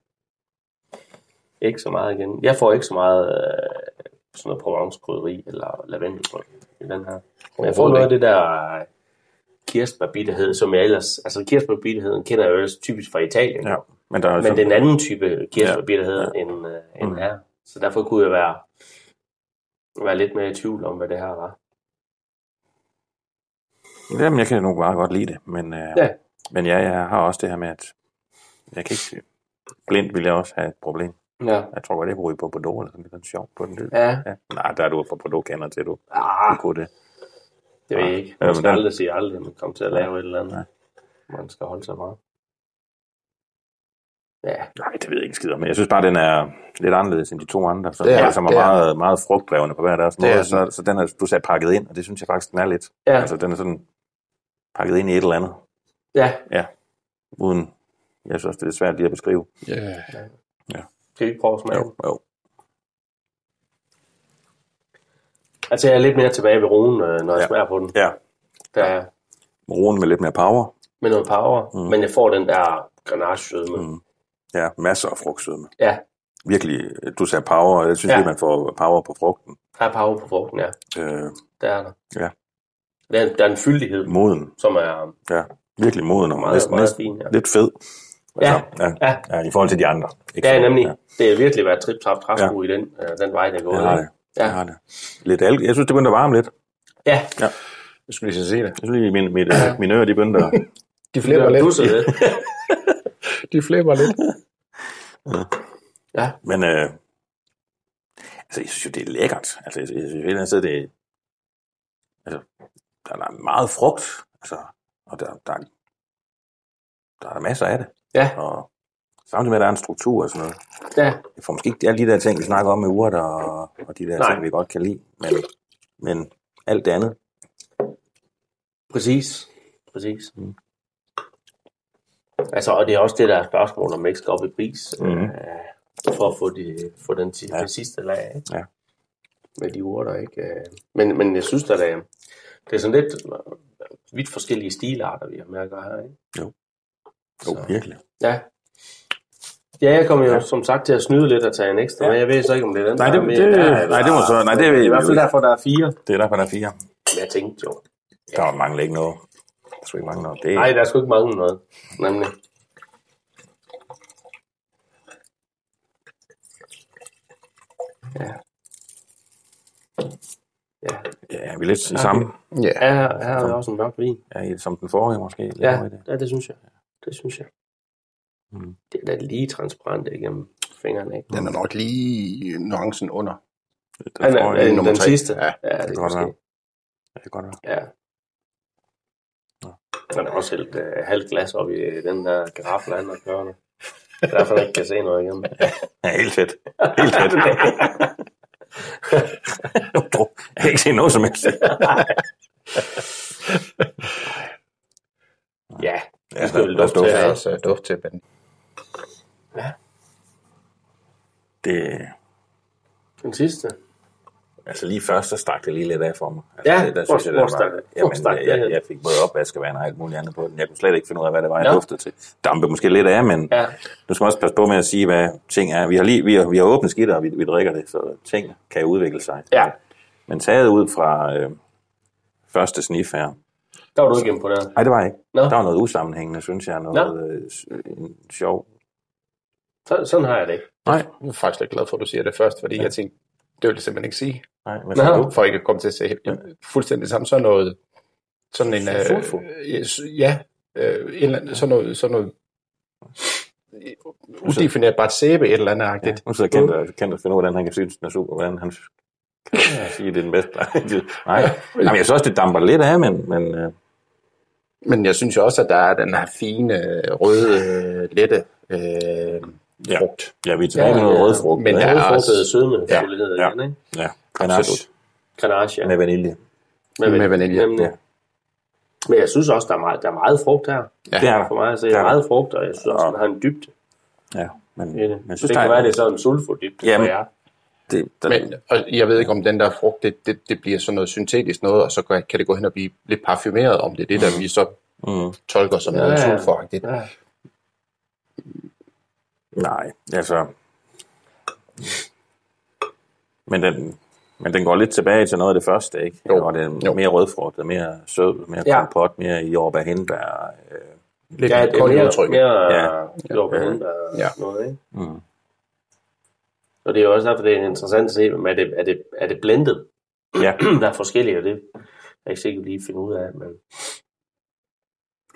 Speaker 3: ikke så meget igen. Jeg får ikke så meget øh, sådan noget provence eller lavendelbrød i den her. Men jeg får noget af det der øh, kirsebærbitterhed, som jeg ellers... Altså kirsebærbitterheden kender jeg jo ellers typisk fra Italien.
Speaker 2: Ja, men der er jo
Speaker 3: Men
Speaker 2: sådan-
Speaker 3: det er en anden type kirsebærbitterhed
Speaker 2: Altså- Ja,
Speaker 3: ja. end, øh, end mm. her. Så derfor kunne jeg være, være lidt mere i tvivl om, hvad det her var.
Speaker 2: Jamen, jeg kan nu bare godt lide det, men, øh,
Speaker 3: Ja.
Speaker 2: ja. men ja, jeg har også det her med, at jeg kan ikke... Blind vil jeg også have et problem.
Speaker 3: Ja.
Speaker 2: Jeg tror godt, jeg kunne ryge på Bordeaux, eller sådan lidt sjovt på den lyd.
Speaker 3: Ja.
Speaker 2: ja. Nej, der er du fra Bordeaux kender til, du,
Speaker 3: Ah,
Speaker 2: du kunne det.
Speaker 3: det ved jeg ikke.
Speaker 2: Ja,
Speaker 3: Man
Speaker 2: men
Speaker 3: skal
Speaker 2: der-
Speaker 3: aldrig sige aldrig, at man kommer til at lave et eller
Speaker 2: Nej.
Speaker 3: andet. Man skal holde sig meget. Ja,
Speaker 2: Nej, det ved jeg ikke skidt om, men jeg synes bare, den er lidt anderledes end de to andre, som,
Speaker 4: Det er-
Speaker 2: ja, som er, altså
Speaker 4: det er.
Speaker 2: meget, meget frugtdrevne på hver deres
Speaker 4: er
Speaker 2: måde.
Speaker 4: sådan.
Speaker 2: Så, så den er, du sagde, pakket ind, og det synes jeg faktisk, den er lidt.
Speaker 3: Ja.
Speaker 2: Altså, den er sådan pakket ind i et eller andet,
Speaker 3: ja.
Speaker 2: uden... Jeg synes også, det er lidt svært lige at beskrive.
Speaker 4: Yeah.
Speaker 3: Skal vi ikke prøve at smage? Jo.
Speaker 2: jo.
Speaker 3: Altså, jeg er lidt mere tilbage ved roen, øh, når jeg
Speaker 2: Ja.
Speaker 3: ja. smager på den.
Speaker 2: Ja,
Speaker 3: Der er
Speaker 2: roen med lidt mere power.
Speaker 3: med noget power, mm. men jeg får den der granagesødme. Mm.
Speaker 2: Ja, masser af frugtsødme.
Speaker 3: Ja,
Speaker 2: Virkelig, du sagde power, og jeg synes
Speaker 3: Ja.
Speaker 2: ja. lige, man får power på frugten.
Speaker 3: der er power på frugten, ja.
Speaker 2: Øh,
Speaker 3: Der er der.
Speaker 2: Ja.
Speaker 3: Der er, der er en fyldighed,
Speaker 2: moden,
Speaker 3: som er
Speaker 2: ja. Virkelig moden og
Speaker 3: Meget-
Speaker 2: næsten,
Speaker 3: meget
Speaker 2: næsten
Speaker 3: fin, ja.
Speaker 2: lidt fed. Altså,
Speaker 3: Ja,
Speaker 2: ja.
Speaker 3: ja.
Speaker 2: ja. i forhold til de andre. Ikke
Speaker 3: Ja,
Speaker 2: så-
Speaker 3: nemlig. Ja. Det har virkelig været trip trap træsko
Speaker 2: Ja.
Speaker 3: ja. i den, øh, den vej, der går.
Speaker 2: Jeg har det.
Speaker 3: Ja.
Speaker 2: Ja. Jeg har det. Lidt alk. Jeg synes, det begyndte at varme lidt.
Speaker 3: ja.
Speaker 4: Jeg skulle lige så se det.
Speaker 2: Jeg synes lige, min, mit, øh, mine ører, de begyndte
Speaker 4: [laughs]
Speaker 2: at...
Speaker 4: De
Speaker 3: det
Speaker 4: flipper
Speaker 3: var
Speaker 4: lidt.
Speaker 3: du
Speaker 4: [laughs]
Speaker 3: så lidt.
Speaker 4: De flipper lidt.
Speaker 3: Ja,
Speaker 2: Men øh, altså, jeg synes jo, det er lækkert. Altså, jeg, jeg synes, at det er... Altså, der er, der er meget frugt. Altså, og der, der, er- der er masser af det.
Speaker 3: ja,
Speaker 2: Og samtidig med, at der er en struktur og sådan noget.
Speaker 3: ja.
Speaker 2: Jeg får måske ikke det er lige de der ting, vi snakker om med urter og, og de der
Speaker 3: Nej.
Speaker 2: Nej. ting, vi godt kan lide. Men, men alt det andet.
Speaker 3: Præcis. Præcis. Mm. Altså, og det er også det, der er spørgsmål, om man ikke skal op i pris, mm.
Speaker 4: Mhm.
Speaker 3: øh, for at få, de, få den, til, ja.
Speaker 2: Ja.
Speaker 3: den sidste lag, ikke?
Speaker 2: Ja.
Speaker 3: Med de urter, ikke? Øh, Men, men jeg synes, at det er, det er sådan lidt øh, vidt forskellige stilarter, vi har med at gøre her, ikke?
Speaker 2: Jo, virkelig.
Speaker 3: Ja. Ja, jeg kommer jo ja. som sagt til at snyde lidt og tage en ekstra, ja. men jeg ved så ikke, om det er den,
Speaker 2: Nej,
Speaker 3: der
Speaker 2: det-
Speaker 3: er med.
Speaker 2: det-
Speaker 3: Ja, eller-
Speaker 2: nej, det må så- nej, det ved
Speaker 3: I
Speaker 2: vi
Speaker 3: hvert fald
Speaker 2: jo ikke.
Speaker 3: derfor, der er fire.
Speaker 2: Det er derfor, der er fire.
Speaker 3: Men Jeg tænkte jo.
Speaker 2: Der var mange ikke noget. Der skulle ikke mange noget. Det,
Speaker 3: Nej, der er sgu ikke mange noget, nemlig. Ja. Ja,
Speaker 2: ja, vi er lidt i samme.
Speaker 4: Ja.
Speaker 3: ja her, her er jo også en mørk vin.
Speaker 2: Ja, i- som den forrige måske. lidt
Speaker 3: Ja,
Speaker 2: over i det.
Speaker 3: ja, det synes jeg. Det synes jeg.
Speaker 2: Mm.
Speaker 3: Det er da lige transparent igennem fingrene, ikke?
Speaker 4: Den er nok lige nuancen under.
Speaker 2: Den
Speaker 3: Den,
Speaker 2: forrige,
Speaker 3: den, den,
Speaker 4: nummer
Speaker 3: den
Speaker 4: tre.
Speaker 3: sidste?
Speaker 4: Ja,
Speaker 3: ja det,
Speaker 2: det
Speaker 3: det
Speaker 2: kan
Speaker 3: kan
Speaker 2: godt
Speaker 3: måske.
Speaker 2: være. Ja, det kan godt være.
Speaker 3: Ja. Han har også hældt øh, halvt glas op i øh, den der garaffel, han har kørende. Derfor han ikke kan
Speaker 4: [laughs]
Speaker 3: se noget igen.
Speaker 2: Ja, helt tæt.
Speaker 3: [laughs]
Speaker 2: Helt tæt. [laughs] Nu druk. Jeg kan ikke se noget som helst.
Speaker 3: ja,
Speaker 4: Ja, der, der,
Speaker 2: dufte af.
Speaker 4: dufter også uh, duft til, men
Speaker 2: Det...
Speaker 3: Den sidste?
Speaker 2: Altså lige først, så stak det lige lidt af for mig. Altså,
Speaker 3: Ja,
Speaker 2: det, der
Speaker 3: hvor-
Speaker 2: synes jeg,
Speaker 3: hvor
Speaker 2: det var,
Speaker 3: stak det? Hvor stak det
Speaker 2: jamen, jeg,
Speaker 3: hen?
Speaker 2: jeg, fik både opvaskevand og alt muligt andet på den. Jeg kunne slet ikke finde ud af, hvad det var, jeg
Speaker 3: Nå.
Speaker 2: duftede til. Dampe måske lidt af, men
Speaker 3: ja.
Speaker 2: du skal man også passe på med at sige, hvad ting er. Vi har, lige, vi har, vi har åbnet skidt, og vi, vi drikker det, så ting kan udvikle sig.
Speaker 3: Ja.
Speaker 2: Men taget ud fra øh, første snif her,
Speaker 3: Der var du ikke imponeret.
Speaker 2: Nej, det var jeg ikke.
Speaker 3: Nå.
Speaker 2: Der var noget usammenhængende, synes jeg.
Speaker 3: Nå.
Speaker 2: Noget øh, s- en sjov.
Speaker 3: Så, sådan har jeg det ikke.
Speaker 2: Nej.
Speaker 4: jeg er faktisk lidt glad for, at du siger det først, fordi ja. jeg tænkte, det vil jeg simpelthen ikke sige. Altså,
Speaker 2: Nej, hvad
Speaker 3: Nå.
Speaker 2: sagde
Speaker 4: Ja.
Speaker 2: du?
Speaker 4: For ikke at komme til at se helt, fuldstændig sammen. Sådan noget, sådan en... øh,
Speaker 2: Fuffu.
Speaker 4: øh, ja, øh, en eller anden, sådan noget, sådan noget udefinerbart sæbe, et eller andet
Speaker 2: Ja,
Speaker 4: agtigt.
Speaker 2: nu sidder Kent og, Kent og finder ud af, hvordan han kan synes, den er super, hvordan han kan sige, det er den bedste. [laughs] Nej, Jamen, jeg synes også, det damper lidt af, men, men øh,
Speaker 4: Men jeg synes jo også, at der er den her fine, øh, røde, øh, lette øh,
Speaker 2: Ja.
Speaker 4: frugt.
Speaker 2: ja, vi er tilbage ja, med noget
Speaker 3: ja.
Speaker 2: rødfrugt.
Speaker 4: Men
Speaker 2: ikke?
Speaker 4: der
Speaker 3: Ja,
Speaker 4: er
Speaker 3: Udfrugtede
Speaker 4: også-
Speaker 3: sødme,
Speaker 4: ja,
Speaker 3: ja, det
Speaker 2: ja.
Speaker 3: ja. igen, ikke?
Speaker 2: ja, absolut.
Speaker 4: Absolut.
Speaker 3: Grenache, ja.
Speaker 2: Med vanilje.
Speaker 4: Med vanilje,
Speaker 3: Nemlig.
Speaker 2: ja.
Speaker 3: Men jeg synes også, der er meget, der er meget frugt her.
Speaker 4: Ja.
Speaker 2: Det er der.
Speaker 3: For mig at se,
Speaker 2: Det
Speaker 3: der
Speaker 2: er
Speaker 3: er
Speaker 2: der.
Speaker 3: meget frugt, og jeg synes også, den har en dybde
Speaker 2: Ja, men,
Speaker 3: i det.
Speaker 2: men jeg
Speaker 3: Synes,
Speaker 2: synes,
Speaker 3: det
Speaker 2: der
Speaker 3: kan
Speaker 2: er,
Speaker 3: være, det er sådan en sulfodybde
Speaker 2: Jamen.
Speaker 3: for jer.
Speaker 2: det, der,
Speaker 4: Men og jeg ved ikke, om den der frugt, det, det, det bliver sådan noget syntetisk noget, og så kan kan det gå hen og blive lidt parfumeret, om det er det, der vi så
Speaker 2: mm,
Speaker 4: tolker som
Speaker 3: Ja,
Speaker 4: noget
Speaker 3: ja.
Speaker 4: sulfuragtigt.
Speaker 3: Ja.
Speaker 2: nej, altså... Men den, men den går lidt tilbage til noget af det første, ikke?
Speaker 4: Jo.
Speaker 2: Og det er
Speaker 4: Jo.
Speaker 2: mere rødfrugtet, mere sød, mere
Speaker 3: Ja.
Speaker 2: ja. kompot, mere jordbær, hindbær. Øh,
Speaker 4: Lidt
Speaker 3: Ja, det er mere,
Speaker 4: udtryk.
Speaker 3: mere
Speaker 2: Ja.
Speaker 3: ja. jordbærhund og
Speaker 4: Ja.
Speaker 3: ja. noget, ikke?
Speaker 2: Mm.
Speaker 3: Og det er jo også derfor, det er interessant at se, om er det, er det, er det blendet?
Speaker 2: Ja.
Speaker 3: [clears throat] der er forskellige, og det er jeg ikke sikkert lige finde ud af, men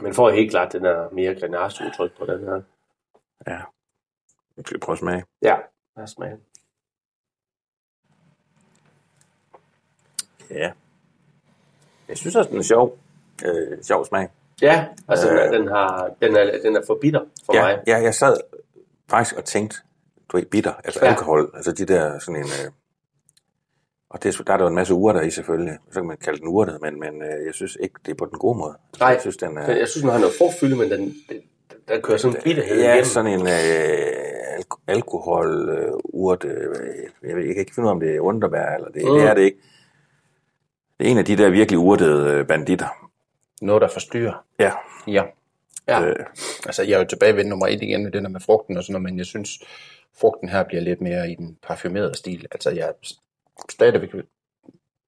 Speaker 3: man får helt klart den der mere grenache-udtryk på den her.
Speaker 2: Ja. Nu skal vi prøve at smage.
Speaker 3: Ja, lad os smage.
Speaker 2: Ja. Jeg synes også, den er sjov. Øh, sjov smag.
Speaker 3: Ja, altså øh,
Speaker 2: Øh.
Speaker 3: den, har, den, er, den er for bitter for
Speaker 2: ja,
Speaker 3: mig.
Speaker 2: ja, jeg sad faktisk og tænkte, du er ikke bitter, altså
Speaker 3: Ja.
Speaker 2: ja. alkohol, altså de der sådan en... Øh, og det, er- der er der jo en masse urter i selvfølgelig, så kan man kalde den urtet, men, men øh, jeg synes ikke, det er på den gode måde.
Speaker 3: Nej,
Speaker 2: jeg synes, den er...
Speaker 3: Den, jeg synes, den har noget frugtfylde, men den, den, der kører sådan en bitterhed
Speaker 2: Ja,
Speaker 3: igennem.
Speaker 2: sådan en øh, alko- alkohol, øh, urt, øh, jeg, ved, jeg kan ikke finde ud af, om det er underbær, eller det, mm. det er det ikke. Det er en af de der virkelig urtede øh, banditter.
Speaker 4: Noget, der forstyrrer.
Speaker 2: Ja.
Speaker 4: Ja.
Speaker 3: Ja.
Speaker 2: Øh,
Speaker 4: Altså, jeg er jo tilbage ved nummer et igen med det der med frugten og sådan noget, men jeg synes, frugten her bliver lidt mere i den parfumerede stil. Altså, jeg er st- stadigvæk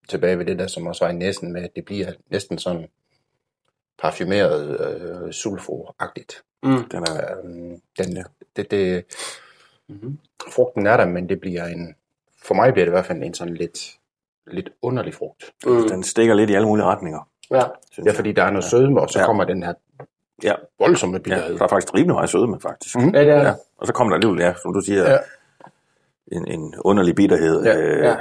Speaker 4: tilbage ved det der, som også var i næsten med, at det bliver næsten sådan parfumeret øh, sulfo-agtigt.
Speaker 3: Mm.
Speaker 2: den er,
Speaker 4: Øhm, den,
Speaker 2: Ja.
Speaker 4: ja. det, det,
Speaker 3: Mhm.
Speaker 4: mm-hmm. Frugten er der, men det bliver en, for mig bliver det i hvert fald en sådan lidt, lidt underlig frugt.
Speaker 3: Mm.
Speaker 2: den stikker lidt i alle mulige retninger.
Speaker 3: Ja.
Speaker 2: Synes
Speaker 4: Ja,
Speaker 2: jeg.
Speaker 4: fordi der er noget sødme, og så
Speaker 2: Ja.
Speaker 4: ja. kommer den her
Speaker 2: Ja.
Speaker 4: voldsomme bitterhed.
Speaker 2: ja, der er faktisk rimelig meget sødme, faktisk.
Speaker 4: Mhm.
Speaker 3: Mm. ja, det er
Speaker 2: Ja.
Speaker 3: ja.
Speaker 2: Og så kommer der alligevel, ja, som du siger, ja.
Speaker 4: Ja.
Speaker 2: en, en underlig bitterhed.
Speaker 4: Ja,
Speaker 2: øh,
Speaker 3: ja.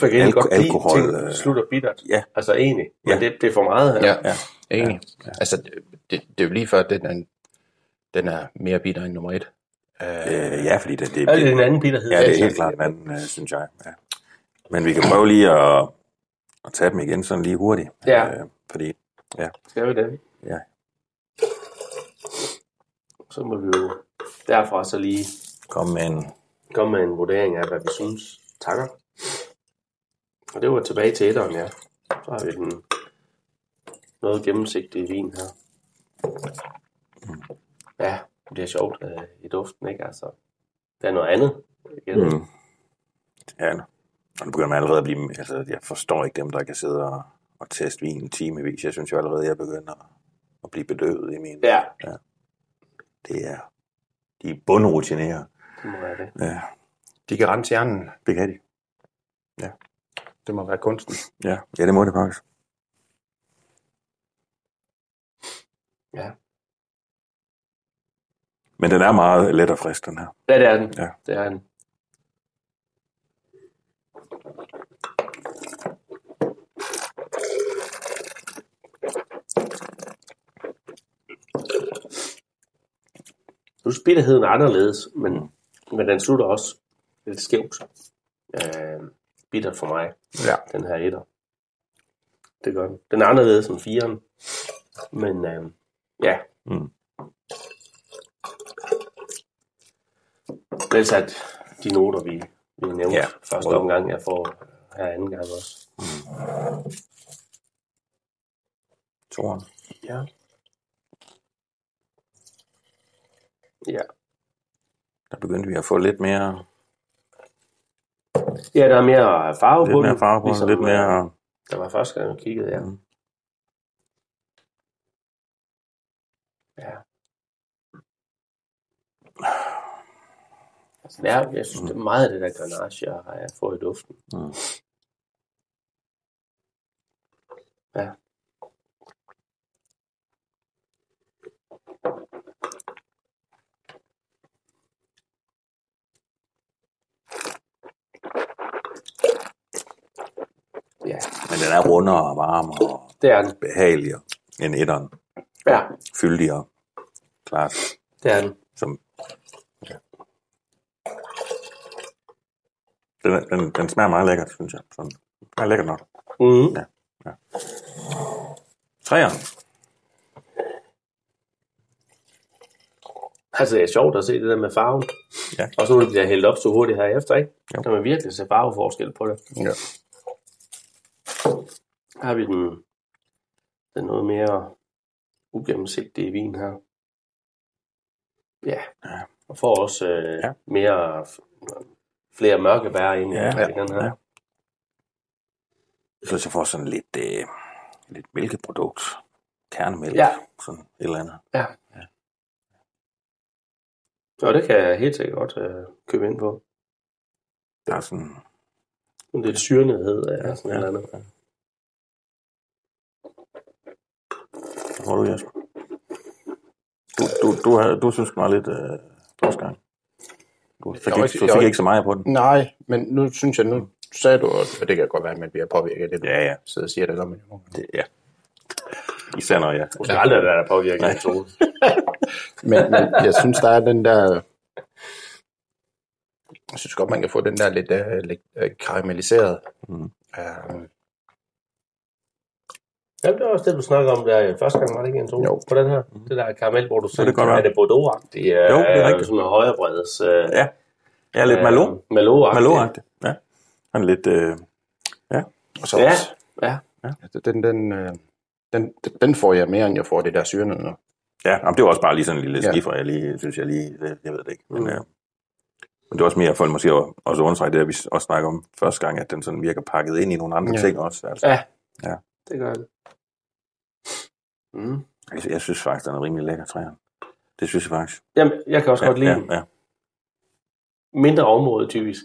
Speaker 3: For jeg kan
Speaker 2: Alko-
Speaker 3: Alko- godt
Speaker 2: alkohol,
Speaker 3: lide, ting
Speaker 2: øh,
Speaker 3: slutter bittert.
Speaker 2: ja.
Speaker 3: Altså egentlig. Men
Speaker 2: Ja.
Speaker 3: ja. det, det er for meget her.
Speaker 4: Ja,
Speaker 3: Ja.
Speaker 4: ja. enig. Ja. Altså, det, det, det er jo lige før, at den er, en- den er mere bitter end nummer et.
Speaker 2: Øh, ja, fordi det, det,
Speaker 3: Er det en
Speaker 2: det,
Speaker 3: anden bitterhed?
Speaker 2: ja, det er helt klart en anden, øh, synes jeg. Ja. Men vi kan prøve lige at, at tage dem igen, sådan lige hurtigt.
Speaker 3: Ja.
Speaker 2: Øh, fordi,
Speaker 3: Skal vi det?
Speaker 2: Ja.
Speaker 3: Så må vi jo derfra så lige
Speaker 2: kom med en...
Speaker 3: komme med en vurdering af, hvad vi synes. Takker. Og det var tilbage til etteren, ja. Så har vi den noget gennemsigtige vin her.
Speaker 4: Mm.
Speaker 3: Ja, det er sjovt øh, i duften, ikke? Altså, der er noget andet. Igen.
Speaker 2: Mm. Ja, og nu begynder man allerede at blive... Altså, jeg forstår ikke dem, der kan sidde og, og teste vin timevis. Jeg synes jo allerede, jeg begynder at, at blive bedøvet i min...
Speaker 3: Ja,
Speaker 2: Det er... De er bundrutineret.
Speaker 3: det må være det.
Speaker 2: Ja,
Speaker 4: De kan rense hjernen.
Speaker 2: det kan de.
Speaker 4: Det må være kunsten.
Speaker 2: Ja, ja det må det faktisk.
Speaker 3: Ja.
Speaker 2: Men den er meget let og frisk, den her.
Speaker 3: Ja, det er den.
Speaker 2: Ja.
Speaker 3: Det er den. Nu er bitterheden anderledes, men, men den slutter også lidt skævt. Øh, bittert for mig,
Speaker 4: ja.
Speaker 3: den her etter. Det gør den. Den er anderledes end firen. Men øh, ja.
Speaker 2: Mm.
Speaker 3: Ellers at de noter, vi, vi nævnte
Speaker 2: Ja.
Speaker 3: ja. første omgang, jeg får her anden gang også.
Speaker 2: Toren.
Speaker 3: Ja. Ja.
Speaker 2: Der begyndte vi at få lidt mere,
Speaker 3: Ja, der er mere farve
Speaker 2: lidt
Speaker 3: på
Speaker 2: mere
Speaker 3: den,
Speaker 2: farve på,
Speaker 3: ligesom,
Speaker 2: lidt
Speaker 3: øh,
Speaker 2: mere...
Speaker 3: Der var første gang, jeg kiggede, ja.
Speaker 2: Mm.
Speaker 3: Ja. Altså, det er, jeg synes, det er meget af det der granage, jeg har jeg får i duften.
Speaker 2: Mm.
Speaker 3: Ja. Ja,
Speaker 2: Men den er rundere og varmere og
Speaker 3: det er den.
Speaker 2: behageligere end etteren.
Speaker 3: Ja,
Speaker 2: Fyldigere. Klart.
Speaker 3: det er den.
Speaker 2: Som, ja. den, den, den smager meget lækkert, synes jeg. Sådan. Den er lækkert nok.
Speaker 3: Mm.
Speaker 2: Ja. ja. Træerne.
Speaker 3: Altså, det er sjovt at se det der med farven.
Speaker 2: Ja.
Speaker 3: Og så nu det bliver hældt op så hurtigt her efter, ikke?
Speaker 2: Jo.
Speaker 3: Kan man virkelig se farveforskel på det.
Speaker 4: Ja.
Speaker 3: Her har vi den, den noget mere ugennemsigtige vin her. Ja.
Speaker 2: Ja.
Speaker 3: Og får også øh,
Speaker 2: Ja.
Speaker 3: ja. mere flere mørke bær ind
Speaker 2: Ja,
Speaker 3: i den her.
Speaker 2: ja. Jeg synes, jeg får sådan lidt, øh, lidt mælkeprodukt. Kernemælk.
Speaker 3: Ja.
Speaker 2: Sådan et eller andet.
Speaker 3: Ja. Og det kan jeg helt sikkert godt øh, købe ind på.
Speaker 2: Der er sådan...
Speaker 3: En lidt syrenedhed eller sådan ja. noget.
Speaker 2: ja. Hvad tror du, Jesper? Du, du, du, havde- du synes, den var lidt øh, første gang. Du fik,
Speaker 4: Jeg var
Speaker 2: ikke,
Speaker 4: ikke-
Speaker 2: du
Speaker 4: jeg
Speaker 2: fik
Speaker 4: var
Speaker 2: ikke så meget på den.
Speaker 4: Nej, men nu synes jeg, nu sagde du, og det kan godt være, at man bliver påvirket lidt.
Speaker 2: Ja, ja.
Speaker 4: Så jeg siger det, eller man jo.
Speaker 2: Det, ja. Især når jeg...
Speaker 3: Måske aldrig der er påvirket
Speaker 2: Nej.
Speaker 3: af sol.
Speaker 4: Men, men jeg synes, der er den der... Jeg synes godt, man kan få den der lidt, uh, lidt uh, karamelliseret.
Speaker 2: Mm.
Speaker 4: Uh,
Speaker 3: Ja, det var også det, du snakkede om der øh, første gang, var det ikke en to?
Speaker 4: Jo.
Speaker 3: På den her, det der karamel, hvor du sagde,
Speaker 2: Mm-hmm. det godt være.
Speaker 3: er det Bordeaux-agtigt? øh,
Speaker 2: Jo, det er rigtigt.
Speaker 3: Sådan noget højrebredes. Øh,
Speaker 2: Ja. Jeg er lidt malo.
Speaker 3: Malo-agtigt.
Speaker 2: malo Ja. Han er lidt... Øh,
Speaker 4: og så
Speaker 3: Ja,
Speaker 4: også,
Speaker 3: ja.
Speaker 4: altså, den, den, uh, den, den får jeg mere, end jeg får det der syrende. nu.
Speaker 2: ja, jamen, det var også bare lige sådan en lille
Speaker 4: Ja.
Speaker 2: skiffer, jeg lige, synes jeg lige... Jeg, jeg ved det ikke. Men,
Speaker 3: Mm.
Speaker 2: øh, men det er også mere for måske at- også at understrege det, at vi også snakker om første gang, at den sådan virker pakket ind i nogle andre
Speaker 4: Ja.
Speaker 2: ja. ting også. Altså.
Speaker 3: Ja.
Speaker 2: Ja.
Speaker 3: Det gør det. Mm.
Speaker 2: Jeg, jeg synes faktisk, den er rimelig lækker træer. Det synes jeg faktisk.
Speaker 3: Jamen, jeg kan også
Speaker 2: ja,
Speaker 3: godt lide
Speaker 2: ja,
Speaker 3: den.
Speaker 2: ja,
Speaker 3: mindre område typisk.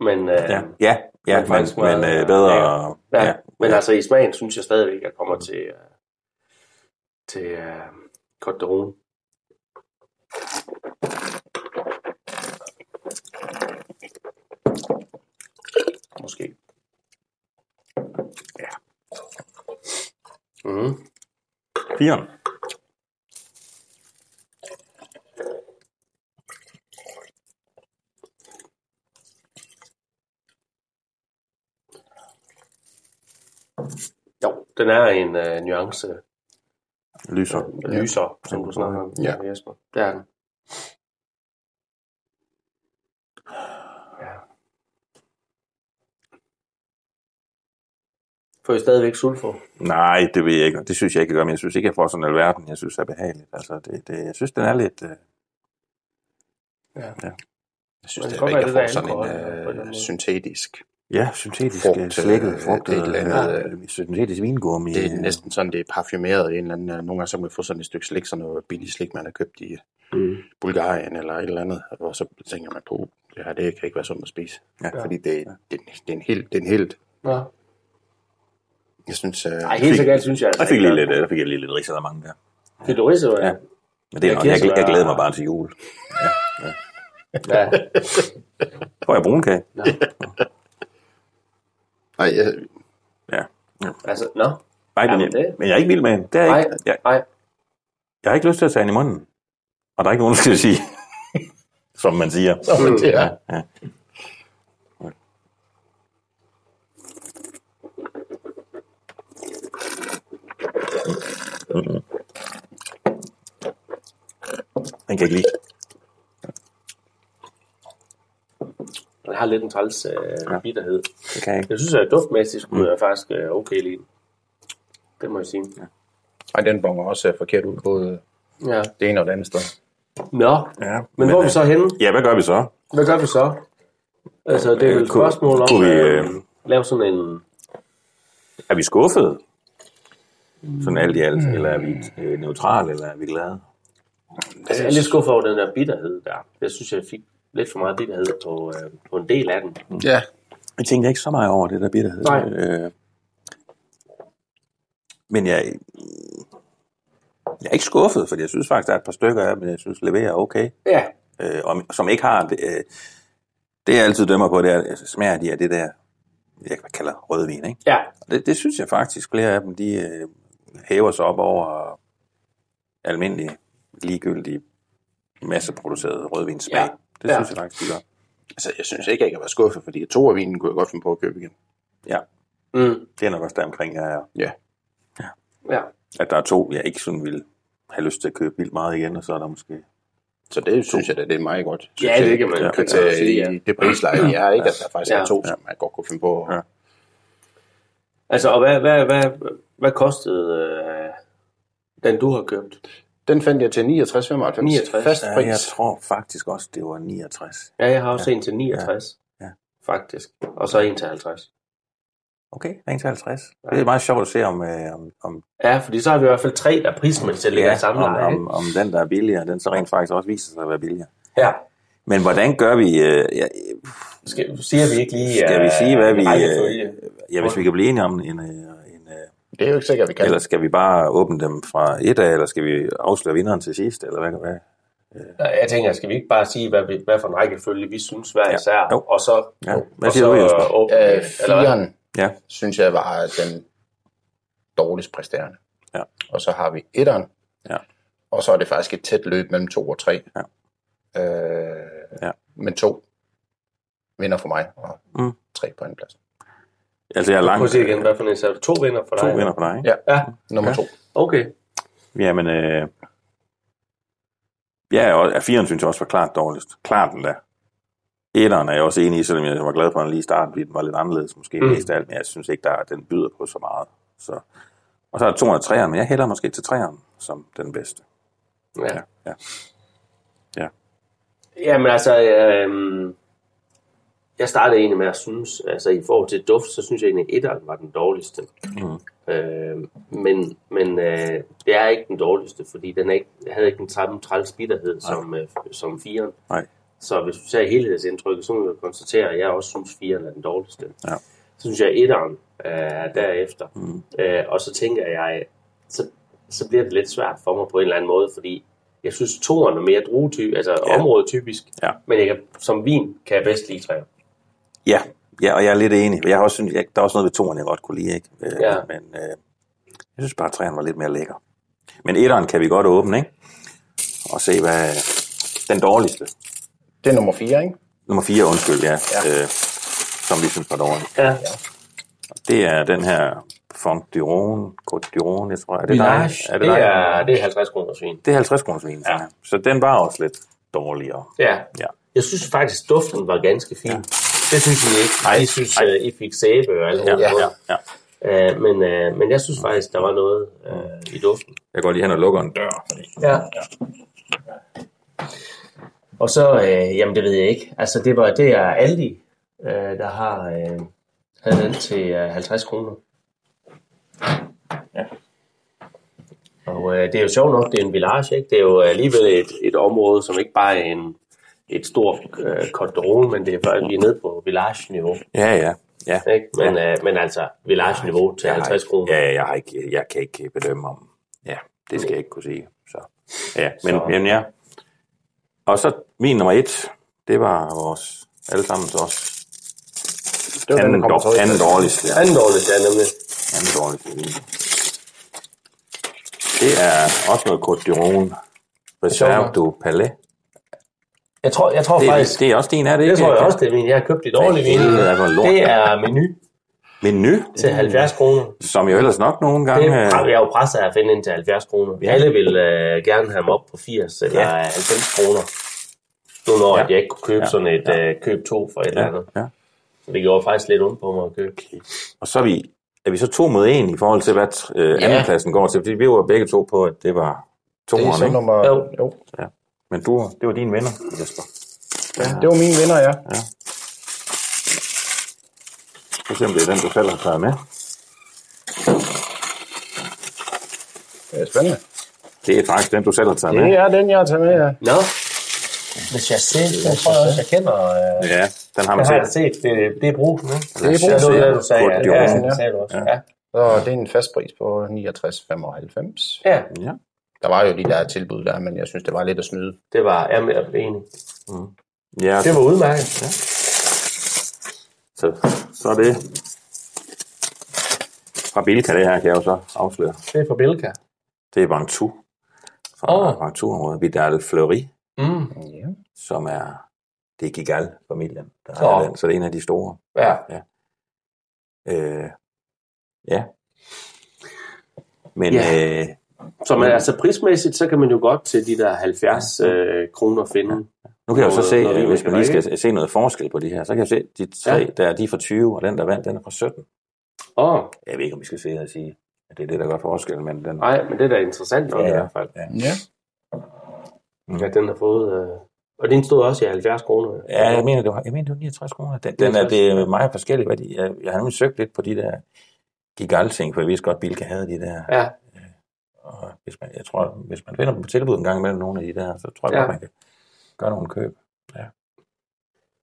Speaker 3: Men, øh,
Speaker 2: ja, ja, ja,
Speaker 3: Men
Speaker 2: men,
Speaker 3: faktisk
Speaker 2: men,
Speaker 3: meget
Speaker 2: øh, bedre.
Speaker 3: lækker. ja, ja, men
Speaker 2: ja.
Speaker 3: altså i smagen synes jeg stadigvæk, at jeg kommer til, øh, til øh, Côte d'Aron. Måske. Ja. Mm.
Speaker 2: Firen.
Speaker 3: Jo, den er en øh, nuance
Speaker 2: Lyser.
Speaker 3: ja. lyser, som du snakker om,
Speaker 4: Ja.
Speaker 3: ja. Jesper. Det er den. Ja. Får I stadigvæk sulfo?
Speaker 2: Nej, det vil jeg ikke. Det synes jeg ikke, jeg gør, men jeg synes ikke, jeg får sådan en alverden. Jeg synes, det er behageligt. Altså, det, det, jeg synes, den er lidt... Øh,
Speaker 4: Jeg synes,
Speaker 3: Men
Speaker 4: det
Speaker 3: det
Speaker 4: er
Speaker 3: kan godt
Speaker 4: ikke, jeg
Speaker 3: være, det
Speaker 4: får
Speaker 3: der
Speaker 4: sådan
Speaker 3: alkohol, eller på
Speaker 4: en
Speaker 3: den
Speaker 4: uh,
Speaker 3: måde.
Speaker 4: syntetisk.
Speaker 2: ja, syntetisk
Speaker 4: Frugt,
Speaker 2: Frugt,
Speaker 4: øh,
Speaker 2: slækket frugt.
Speaker 4: et eller andet,
Speaker 2: øh, øh, syntetisk vingummi.
Speaker 4: Det er næsten sådan, det er parfumeret i en eller anden. øh, Nogle gange så kan man få sådan et stykke slik, sådan noget billigt slik, man har købt i
Speaker 3: Mm.
Speaker 4: Bulgarien eller et eller andet, og så tænker man på, det her det kan ikke være sundt at spise.
Speaker 2: Ja.
Speaker 4: Fordi det, det, det, er en helt, det er en helt,
Speaker 3: Ja.
Speaker 4: jeg synes, øh,
Speaker 3: Ej, helt sikkert synes jeg. altså.
Speaker 2: Jeg fik lige lidt, jeg fik lige lidt ridser der mange der.
Speaker 3: Fik du ridser,
Speaker 2: Ja.
Speaker 3: ja.
Speaker 2: Men det er
Speaker 3: Ja,
Speaker 2: nok, jeg, jeg,
Speaker 3: kirsebær-
Speaker 2: jeg glæder mig bare til jul.
Speaker 3: ja.
Speaker 2: Får jeg brunkage?
Speaker 3: Nå.
Speaker 4: nej, jeg,
Speaker 2: Ja.
Speaker 3: Altså, nå.
Speaker 2: Nej, men,
Speaker 3: Jamen,
Speaker 2: jeg,
Speaker 3: det-
Speaker 2: men jeg er ikke vild med den. Det er jeg
Speaker 3: Nej,
Speaker 2: ikke. Jeg,
Speaker 3: nej.
Speaker 2: jeg har ikke lyst til at tage den i munden. Og der er ikke nogen, der skal sige, [laughs] som man siger.
Speaker 4: Som man siger.
Speaker 3: Mm.
Speaker 2: Ja, ja. Mm. Den kan jeg ikke lide.
Speaker 3: Den har lidt en træls øh, ja. bitterhed.
Speaker 2: Det kan jeg ikke.
Speaker 3: Jeg synes, at duftmæssigt skulle mm. jeg faktisk øh, okay lige. Det må jeg sige. Ja.
Speaker 4: Ej, den bonger også øh, forkert ud, både
Speaker 3: ja.
Speaker 4: det ene og det andet sted.
Speaker 3: Nå,
Speaker 2: Ja. Men,
Speaker 3: hvor er vi så
Speaker 2: øh,
Speaker 3: henne?
Speaker 2: Ja, hvad gør vi så?
Speaker 3: hvad gør vi så? Altså, det er vel et
Speaker 2: Øh, Kunne-
Speaker 3: spørgsmål om
Speaker 2: kunne vi,
Speaker 3: at
Speaker 2: øh,
Speaker 3: lave sådan en...
Speaker 2: Er vi skuffede? Sådan alt i alt.
Speaker 3: Mm.
Speaker 2: Eller er vi øh, neutrale, eller er vi glade?
Speaker 3: Altså, jeg er lidt skuffet over den der bitterhed der. Jeg synes, jeg fik lidt for meget bitterhed på, øh, på en del af den.
Speaker 4: Ja.
Speaker 2: Jeg tænkte ikke så meget over det der bitterhed.
Speaker 3: Nej.
Speaker 2: Øh, men jeg, jeg er ikke skuffet, for jeg synes faktisk, der er et par stykker af dem, jeg synes leverer okay.
Speaker 3: Ja.
Speaker 2: Øh, og, som ikke har... Det, øh, det, jeg altid dømmer på, det er, altså, smager de af det der, jeg kalder rødvin, ikke?
Speaker 3: Ja.
Speaker 2: Og Det, det synes jeg faktisk, flere af dem, de øh, hæver sig op over almindelige, ligegyldige, masseproducerede rødvinsmag.
Speaker 3: Ja,
Speaker 2: Ja. Det
Speaker 3: ja.
Speaker 2: synes jeg faktisk, de gør.
Speaker 4: Altså, jeg synes ikke, jeg kan være skuffet, fordi to af vinen kunne jeg godt finde på at købe igen.
Speaker 2: Ja,
Speaker 3: Mm.
Speaker 2: det er nok også der omkring, jeg er.
Speaker 4: Ja.
Speaker 3: Ja.
Speaker 2: At der er to, jeg ikke sådan vil have lyst til at købe vildt meget igen, og så er der måske...
Speaker 4: Så det synes jeg da, det er meget godt.
Speaker 3: Ja,
Speaker 4: Succes.
Speaker 3: det kan man-
Speaker 4: ja,
Speaker 3: kan man sige,
Speaker 4: tage
Speaker 3: ja.
Speaker 4: i det prisleje, de er, ikke? At der faktisk
Speaker 3: Ja.
Speaker 4: er to, som man godt kunne finde på.
Speaker 2: Ja.
Speaker 4: Ja.
Speaker 3: Altså, og hvad, hvad, hvad, hvad kostede øh, den, du har købt?
Speaker 4: Den fandt jeg til 69,95.
Speaker 3: 69,
Speaker 4: Fast
Speaker 2: Ja,
Speaker 4: pris.
Speaker 2: jeg tror faktisk også, det var 69.
Speaker 3: Ja, jeg har også ja. en til 69.
Speaker 2: Ja.
Speaker 3: Faktisk. Og så en til 50.
Speaker 2: Okay, ring til 50. Det er meget sjovt at se, om, øh, om, om,
Speaker 3: Ja, fordi så har vi i hvert fald tre, der prismæssigt ja, ligger i samme
Speaker 2: om,
Speaker 3: leje.
Speaker 2: om, om den, der er billigere, den så rent faktisk også viser sig at være billigere.
Speaker 3: Ja.
Speaker 2: Men hvordan gør vi... Øh, ja,
Speaker 3: Skal, siger vi ikke lige...
Speaker 2: skal vi
Speaker 3: øh,
Speaker 2: sige, hvad vi...
Speaker 3: rækkefølge?
Speaker 2: Øh, ja, hvis vi kan blive enige om en... øh, en øh,
Speaker 4: Det er jo ikke sikkert, at vi kan.
Speaker 2: eller skal vi bare åbne dem fra et af, eller skal vi afsløre vinderen til sidst, eller hvad? hvad?
Speaker 3: Nej, Jeg tænker, skal vi ikke bare sige, hvad, vi, hvad for en rækkefølge vi synes hver
Speaker 2: Ja.
Speaker 3: især,
Speaker 2: Jo.
Speaker 3: og så,
Speaker 2: Ja. Hvad
Speaker 3: og
Speaker 2: siger
Speaker 3: så
Speaker 2: du, Jesper?
Speaker 3: åbne det,
Speaker 4: Øh,
Speaker 3: eller hvad?
Speaker 4: firen
Speaker 2: Ja,
Speaker 4: synes jeg var den dårligst præsterende.
Speaker 2: Ja.
Speaker 4: Og så har vi etteren.
Speaker 2: Ja.
Speaker 4: Og så er det faktisk et tæt løb mellem to og tre.
Speaker 2: Ja.
Speaker 4: Øh,
Speaker 2: Ja.
Speaker 4: Men to vinder for mig, og
Speaker 2: Mm.
Speaker 4: mm. tre på anden plads.
Speaker 2: altså jeg er
Speaker 3: Prøv at
Speaker 2: langt...
Speaker 3: se igen, hvad for en især. To vinder for
Speaker 2: To
Speaker 3: dig.
Speaker 2: vinder for dig, ikke?
Speaker 4: Ja,
Speaker 3: Ja,
Speaker 4: nummer
Speaker 2: Ja.
Speaker 4: ja. to.
Speaker 3: okay.
Speaker 2: Jamen, øh, ja, og ja, firen synes jeg også var klart dårligst. Klart den der. Etteren er jeg også enig i, selvom jeg var glad for den lige i starten, fordi den var lidt anderledes måske
Speaker 3: Mm.
Speaker 2: mm. mest af alt, men jeg synes ikke, der, er- den byder på så meget. Så. Og så er der 203'eren, men jeg hælder måske til 3'eren som den bedste.
Speaker 3: Ja.
Speaker 2: ja. ja.
Speaker 3: Jamen altså, øh, jeg startede egentlig med at synes, altså i forhold til duft, så synes jeg egentlig, at etteren var den dårligste. Mm. Øh, men men øh, det er ikke den dårligste, fordi den er ikke, havde ikke den samme træls bitterhed som, øh, som firen.
Speaker 2: Nej.
Speaker 3: Så hvis du ser helhedsindtrykket, så må du konstatere, at jeg også synes, at 4'eren er den dårligste.
Speaker 2: Ja.
Speaker 3: Så synes jeg, at 1'eren øh, er derefter. Mm. Øh, og så tænker jeg, så, så bliver det lidt svært for mig på en eller anden måde, fordi jeg synes, 2'eren er mere druetyp, altså ja.
Speaker 2: Ja.
Speaker 3: området typisk.
Speaker 2: Ja.
Speaker 3: Men jeg kan, som vin kan jeg bedst lide 3'eren.
Speaker 2: Ja, ja, og jeg er lidt enig. Jeg har også synes, jeg, der er også noget ved toeren, jeg godt kunne lide, ikke? Øh,
Speaker 3: Ja.
Speaker 2: Men øh, jeg synes bare, at træerne var lidt mere lækker. Men etteren kan vi godt åbne, ikke? Og se, hvad den dårligste.
Speaker 4: Det er nummer fire, ikke?
Speaker 2: Nummer 4, undskyld, ja.
Speaker 4: Ja.
Speaker 2: Øh, som vi synes var dårlig.
Speaker 3: Ja.
Speaker 2: Det er den her Fond du Rhône, Côte du Rhône, jeg tror. Er det dig?
Speaker 3: det, det, er, det er 50 kroner svin.
Speaker 2: det er 50 kroners vin, ja. Så den var også lidt dårligere.
Speaker 3: Ja.
Speaker 2: Ja.
Speaker 3: Jeg synes faktisk, duften var ganske fin. Det synes I ikke.
Speaker 2: Ej,
Speaker 3: I synes,
Speaker 2: ej.
Speaker 3: øh, I fik sæbe og alt
Speaker 2: Ja, ja,
Speaker 3: muligt.
Speaker 2: ja. ja.
Speaker 3: Øh, men, øh, men jeg synes faktisk, der var noget øh, i duften.
Speaker 2: Jeg går lige hen og lukker en dør. Fordi...
Speaker 3: Ja. Og så, øh, jamen det ved jeg ikke. Altså det, var, det er Aldi, øh, der har øh, havde den til øh, 50 kroner. Ja. Og øh, det er jo sjovt nok, det er en village, ikke? Det er jo alligevel et, et område, som ikke bare er en, et stort øh, korderon, men det er faktisk, vi er nede på village-niveau.
Speaker 2: Ja, ja. ja.
Speaker 3: Ikke? Men, ja. øh, men altså, village-niveau til
Speaker 2: Jeg har
Speaker 3: 50
Speaker 2: ikke-
Speaker 3: kroner.
Speaker 2: Ja, jeg, har ikke, jeg kan ikke bedømme om... Ja, det skal jeg ikke kunne sige. Så. Ja, men,
Speaker 3: Så-
Speaker 2: så. men ja. Og så min nummer et, det var vores alle sammen også.
Speaker 4: Det var den,
Speaker 2: Anden,
Speaker 4: der kommer
Speaker 2: dår,
Speaker 4: tredje.
Speaker 2: anden dårligste. Ja.
Speaker 3: Anden dårligste er nemlig.
Speaker 2: Anden dårligste vin. Det er også noget Côte du Rhône. Reserve du Palais.
Speaker 3: Jeg tror, jeg tror
Speaker 2: det,
Speaker 3: faktisk...
Speaker 2: Det er også din, er det
Speaker 3: Det
Speaker 2: ikke?
Speaker 3: tror jeg også, det er min. Jeg har købt et dårligt vin.
Speaker 2: helvede, hvor lort.
Speaker 3: Det er menu
Speaker 2: Menu,
Speaker 3: til 70 kroner.
Speaker 2: som jo ellers nok nogle gange...
Speaker 3: Det er,
Speaker 2: øh,
Speaker 3: jeg er jo presset af at finde en til 70 kroner. Vi alle vil øh, gerne have dem op på 80 eller
Speaker 2: Ja.
Speaker 3: 90 kroner. Nu når
Speaker 2: Ja.
Speaker 3: ja. jeg ikke kunne købe
Speaker 2: Ja.
Speaker 3: ja. sådan et øh, køb to for et eller andet.
Speaker 2: ja.
Speaker 3: Så det gjorde faktisk lidt ondt på mig at købe.
Speaker 2: Og så er vi, er vi så to mod en i forhold til, hvad øh,
Speaker 3: Ja.
Speaker 2: andenpladsen går til. Fordi vi var begge to på, at det var
Speaker 4: Det er
Speaker 2: toeren,
Speaker 4: så
Speaker 2: ikke?
Speaker 4: nummer...
Speaker 3: Jo.
Speaker 4: Jo.
Speaker 2: Ja. Men du, det var dine venner, Jesper.
Speaker 4: Ja. Det var mine vinder, ja.
Speaker 2: Så se, om det er den, du selv har taget med.
Speaker 4: Det er spændende.
Speaker 2: Det er faktisk den, du selv har taget med.
Speaker 4: Det er den, jeg har taget med, ja.
Speaker 3: Nå, hvis jeg ser, så tror jeg også, jeg kender... Øh,
Speaker 2: Ja, den har
Speaker 3: jeg
Speaker 2: man
Speaker 3: har
Speaker 2: set.
Speaker 3: set, det, det er brusen, ikke?
Speaker 4: Det er
Speaker 3: Det
Speaker 4: brugt.
Speaker 3: var det, du sagde. Ja,
Speaker 2: Kurt
Speaker 3: ja,
Speaker 2: Dioron.
Speaker 3: det sagde du også. Ja.
Speaker 4: Så det er en fast pris på 69,95.
Speaker 3: ja,
Speaker 2: Ja.
Speaker 4: Der var jo de der tilbud der, men jeg synes, det var lidt at snyde.
Speaker 3: det var jeg er enig.
Speaker 2: ja
Speaker 3: Det var udmærket. Ja.
Speaker 2: så, så er det fra Bilka, det her kan jeg jo så afsløre.
Speaker 3: Det er fra Bilka.
Speaker 2: Det er Ventoux. Fra
Speaker 3: Åh.
Speaker 2: oh. Ventoux-området. Vidal Fleury,
Speaker 3: Mm.
Speaker 4: Ja.
Speaker 2: som er... Det er Gigal-familien, der
Speaker 3: Åh.
Speaker 2: har den. Så det er en af de store.
Speaker 3: Ja.
Speaker 2: Øh, ja. Men
Speaker 3: Ja.
Speaker 2: yeah. øh,
Speaker 3: Så man, altså prismæssigt, så kan man jo godt til de der 70 øh, kroner finde.
Speaker 2: nu kan jeg jo så
Speaker 3: Noget-
Speaker 2: se,
Speaker 3: noget
Speaker 2: øh,
Speaker 3: vin,
Speaker 2: hvis man
Speaker 3: man kan
Speaker 2: lige skal
Speaker 3: drikke,
Speaker 2: se noget forskel på de her, så kan jeg se, at de tre
Speaker 3: Ja.
Speaker 2: ja. der, de er fra 20, og den der vandt, den er fra 17.
Speaker 3: Åh, oh,
Speaker 2: Jeg ved ikke, om vi skal sidde og sige, at det er det, der gør forskel, men den...
Speaker 3: nej, men det er da interessant nok ja. i hvert fald.
Speaker 2: Ja,
Speaker 4: ja.
Speaker 2: Mm.
Speaker 3: At den har fået... Øh, og den stod også i 70 kroner.
Speaker 2: ja jeg, mener, det var, jeg mener, det var 69 kroner. Den, den er, det er meget forskelligt. Hvad de, jeg, jeg har nemlig søgt lidt på de der gigalting, for jeg vidste godt, Bilka havde de der.
Speaker 3: Ja.
Speaker 2: Og hvis man, jeg tror, hvis man finder dem på tilbud en gang imellem nogle af de der, så tror jeg
Speaker 3: Ja.
Speaker 2: ja. godt, man kan gøre nogle køb.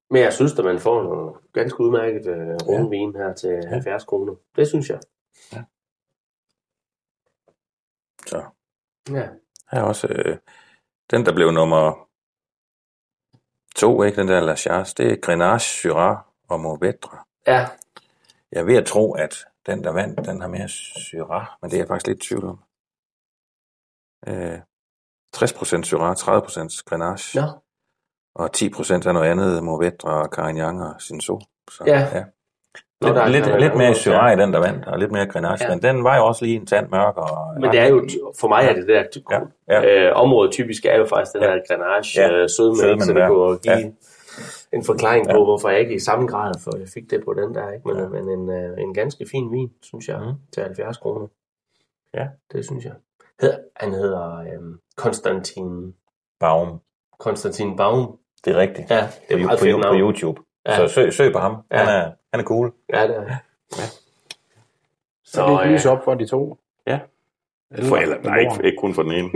Speaker 3: Men jeg synes, at man får nogle ganske udmærket øh, rundvin her til 70 kroner. Det synes jeg.
Speaker 2: Så
Speaker 3: Ja.
Speaker 2: Her er også øh, den, der blev nummer to, ikke? den der La Chasse, det er Grenache, Syrah og Mauvetre.
Speaker 3: Ja,
Speaker 2: Jeg er ved at tro, at den, der vandt, den har mere Syrah, men det er jeg faktisk lidt i tvivl om. Øh, 60% Syrah, 30% Grenache,
Speaker 3: Nå.
Speaker 2: og 10% er noget andet, Mauvetre og Carignan og Cinsault. Så,
Speaker 3: Ja. Nå, der er
Speaker 2: Lidt, lidt,
Speaker 3: Carignan
Speaker 2: lidt mere
Speaker 3: også,
Speaker 2: Syrah
Speaker 3: ja.
Speaker 2: i den, der vandt, og lidt mere Grenache,
Speaker 3: Ja.
Speaker 2: ja. men den var jo også lige en tand mørk. Og,
Speaker 3: men det er jo, for mig er det der
Speaker 2: Ja,
Speaker 3: ty-
Speaker 2: ja.
Speaker 3: øh, område typisk er jo faktisk den
Speaker 2: Ja.
Speaker 3: her granage
Speaker 2: Ja.
Speaker 3: øh, sødmælk,
Speaker 2: Sødmælk,
Speaker 3: så det
Speaker 2: ja.
Speaker 3: kunne give
Speaker 2: Ja.
Speaker 3: en forklaring på, hvorfor jeg ikke i samme grad for jeg fik det på den der, ikke? men, ja. men en, øh, en ganske fin vin, synes jeg, mm. til 70 kroner.
Speaker 2: Ja.
Speaker 3: Det synes jeg. Hed, han hedder øh, Konstantin,
Speaker 2: Baum,
Speaker 3: Konstantin Baum.
Speaker 2: det er rigtigt.
Speaker 3: Ja, det er
Speaker 2: på,
Speaker 3: meget
Speaker 2: på,
Speaker 3: fedt
Speaker 2: på
Speaker 3: navn.
Speaker 2: YouTube.
Speaker 3: Ja.
Speaker 2: Ja. Så søg, søg på ham. Ja. Han, er, han er cool.
Speaker 3: Ja, det er.
Speaker 4: Så det er lys op for de to.
Speaker 2: Ja.
Speaker 4: Eller,
Speaker 2: ikke kun for den [laughs] ene.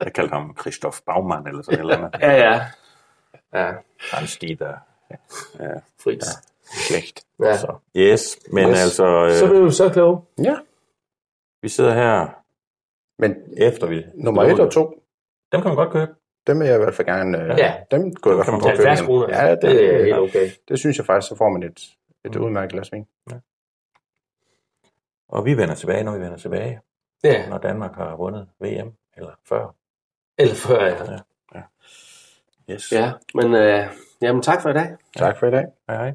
Speaker 2: Jeg kaldte ham Christoph Baumann eller sådan noget. Eller
Speaker 3: Ja, ja. Ja,
Speaker 2: Han stig der.
Speaker 3: frit.
Speaker 2: Schlecht.
Speaker 3: Ja.
Speaker 2: Så. Yes, men
Speaker 3: Yes.
Speaker 2: yes. altså,
Speaker 3: Så
Speaker 2: øh,
Speaker 3: blev du så klog.
Speaker 4: Ja,
Speaker 2: vi sidder her
Speaker 4: men
Speaker 2: efter vi...
Speaker 4: nummer et og to,
Speaker 2: Dem kan man godt købe.
Speaker 4: dem vil jeg i hvert fald gerne... øh,
Speaker 3: Ja.
Speaker 4: Dem går jeg i hvert fald
Speaker 2: Til
Speaker 4: på
Speaker 3: 70 kroner,
Speaker 4: Ja, det,
Speaker 3: det er helt
Speaker 4: det,
Speaker 3: okay.
Speaker 4: det, synes jeg faktisk, så får man et, et udmærket glas vin.
Speaker 2: Og vi vender tilbage, når vi vender tilbage.
Speaker 3: Ja,
Speaker 2: Når Danmark har vundet VM, eller før.
Speaker 3: eller før, ja.
Speaker 2: Yes.
Speaker 3: Ja, men øh, jamen, tak for i dag.
Speaker 4: Tak for i dag.
Speaker 2: Hej, hej.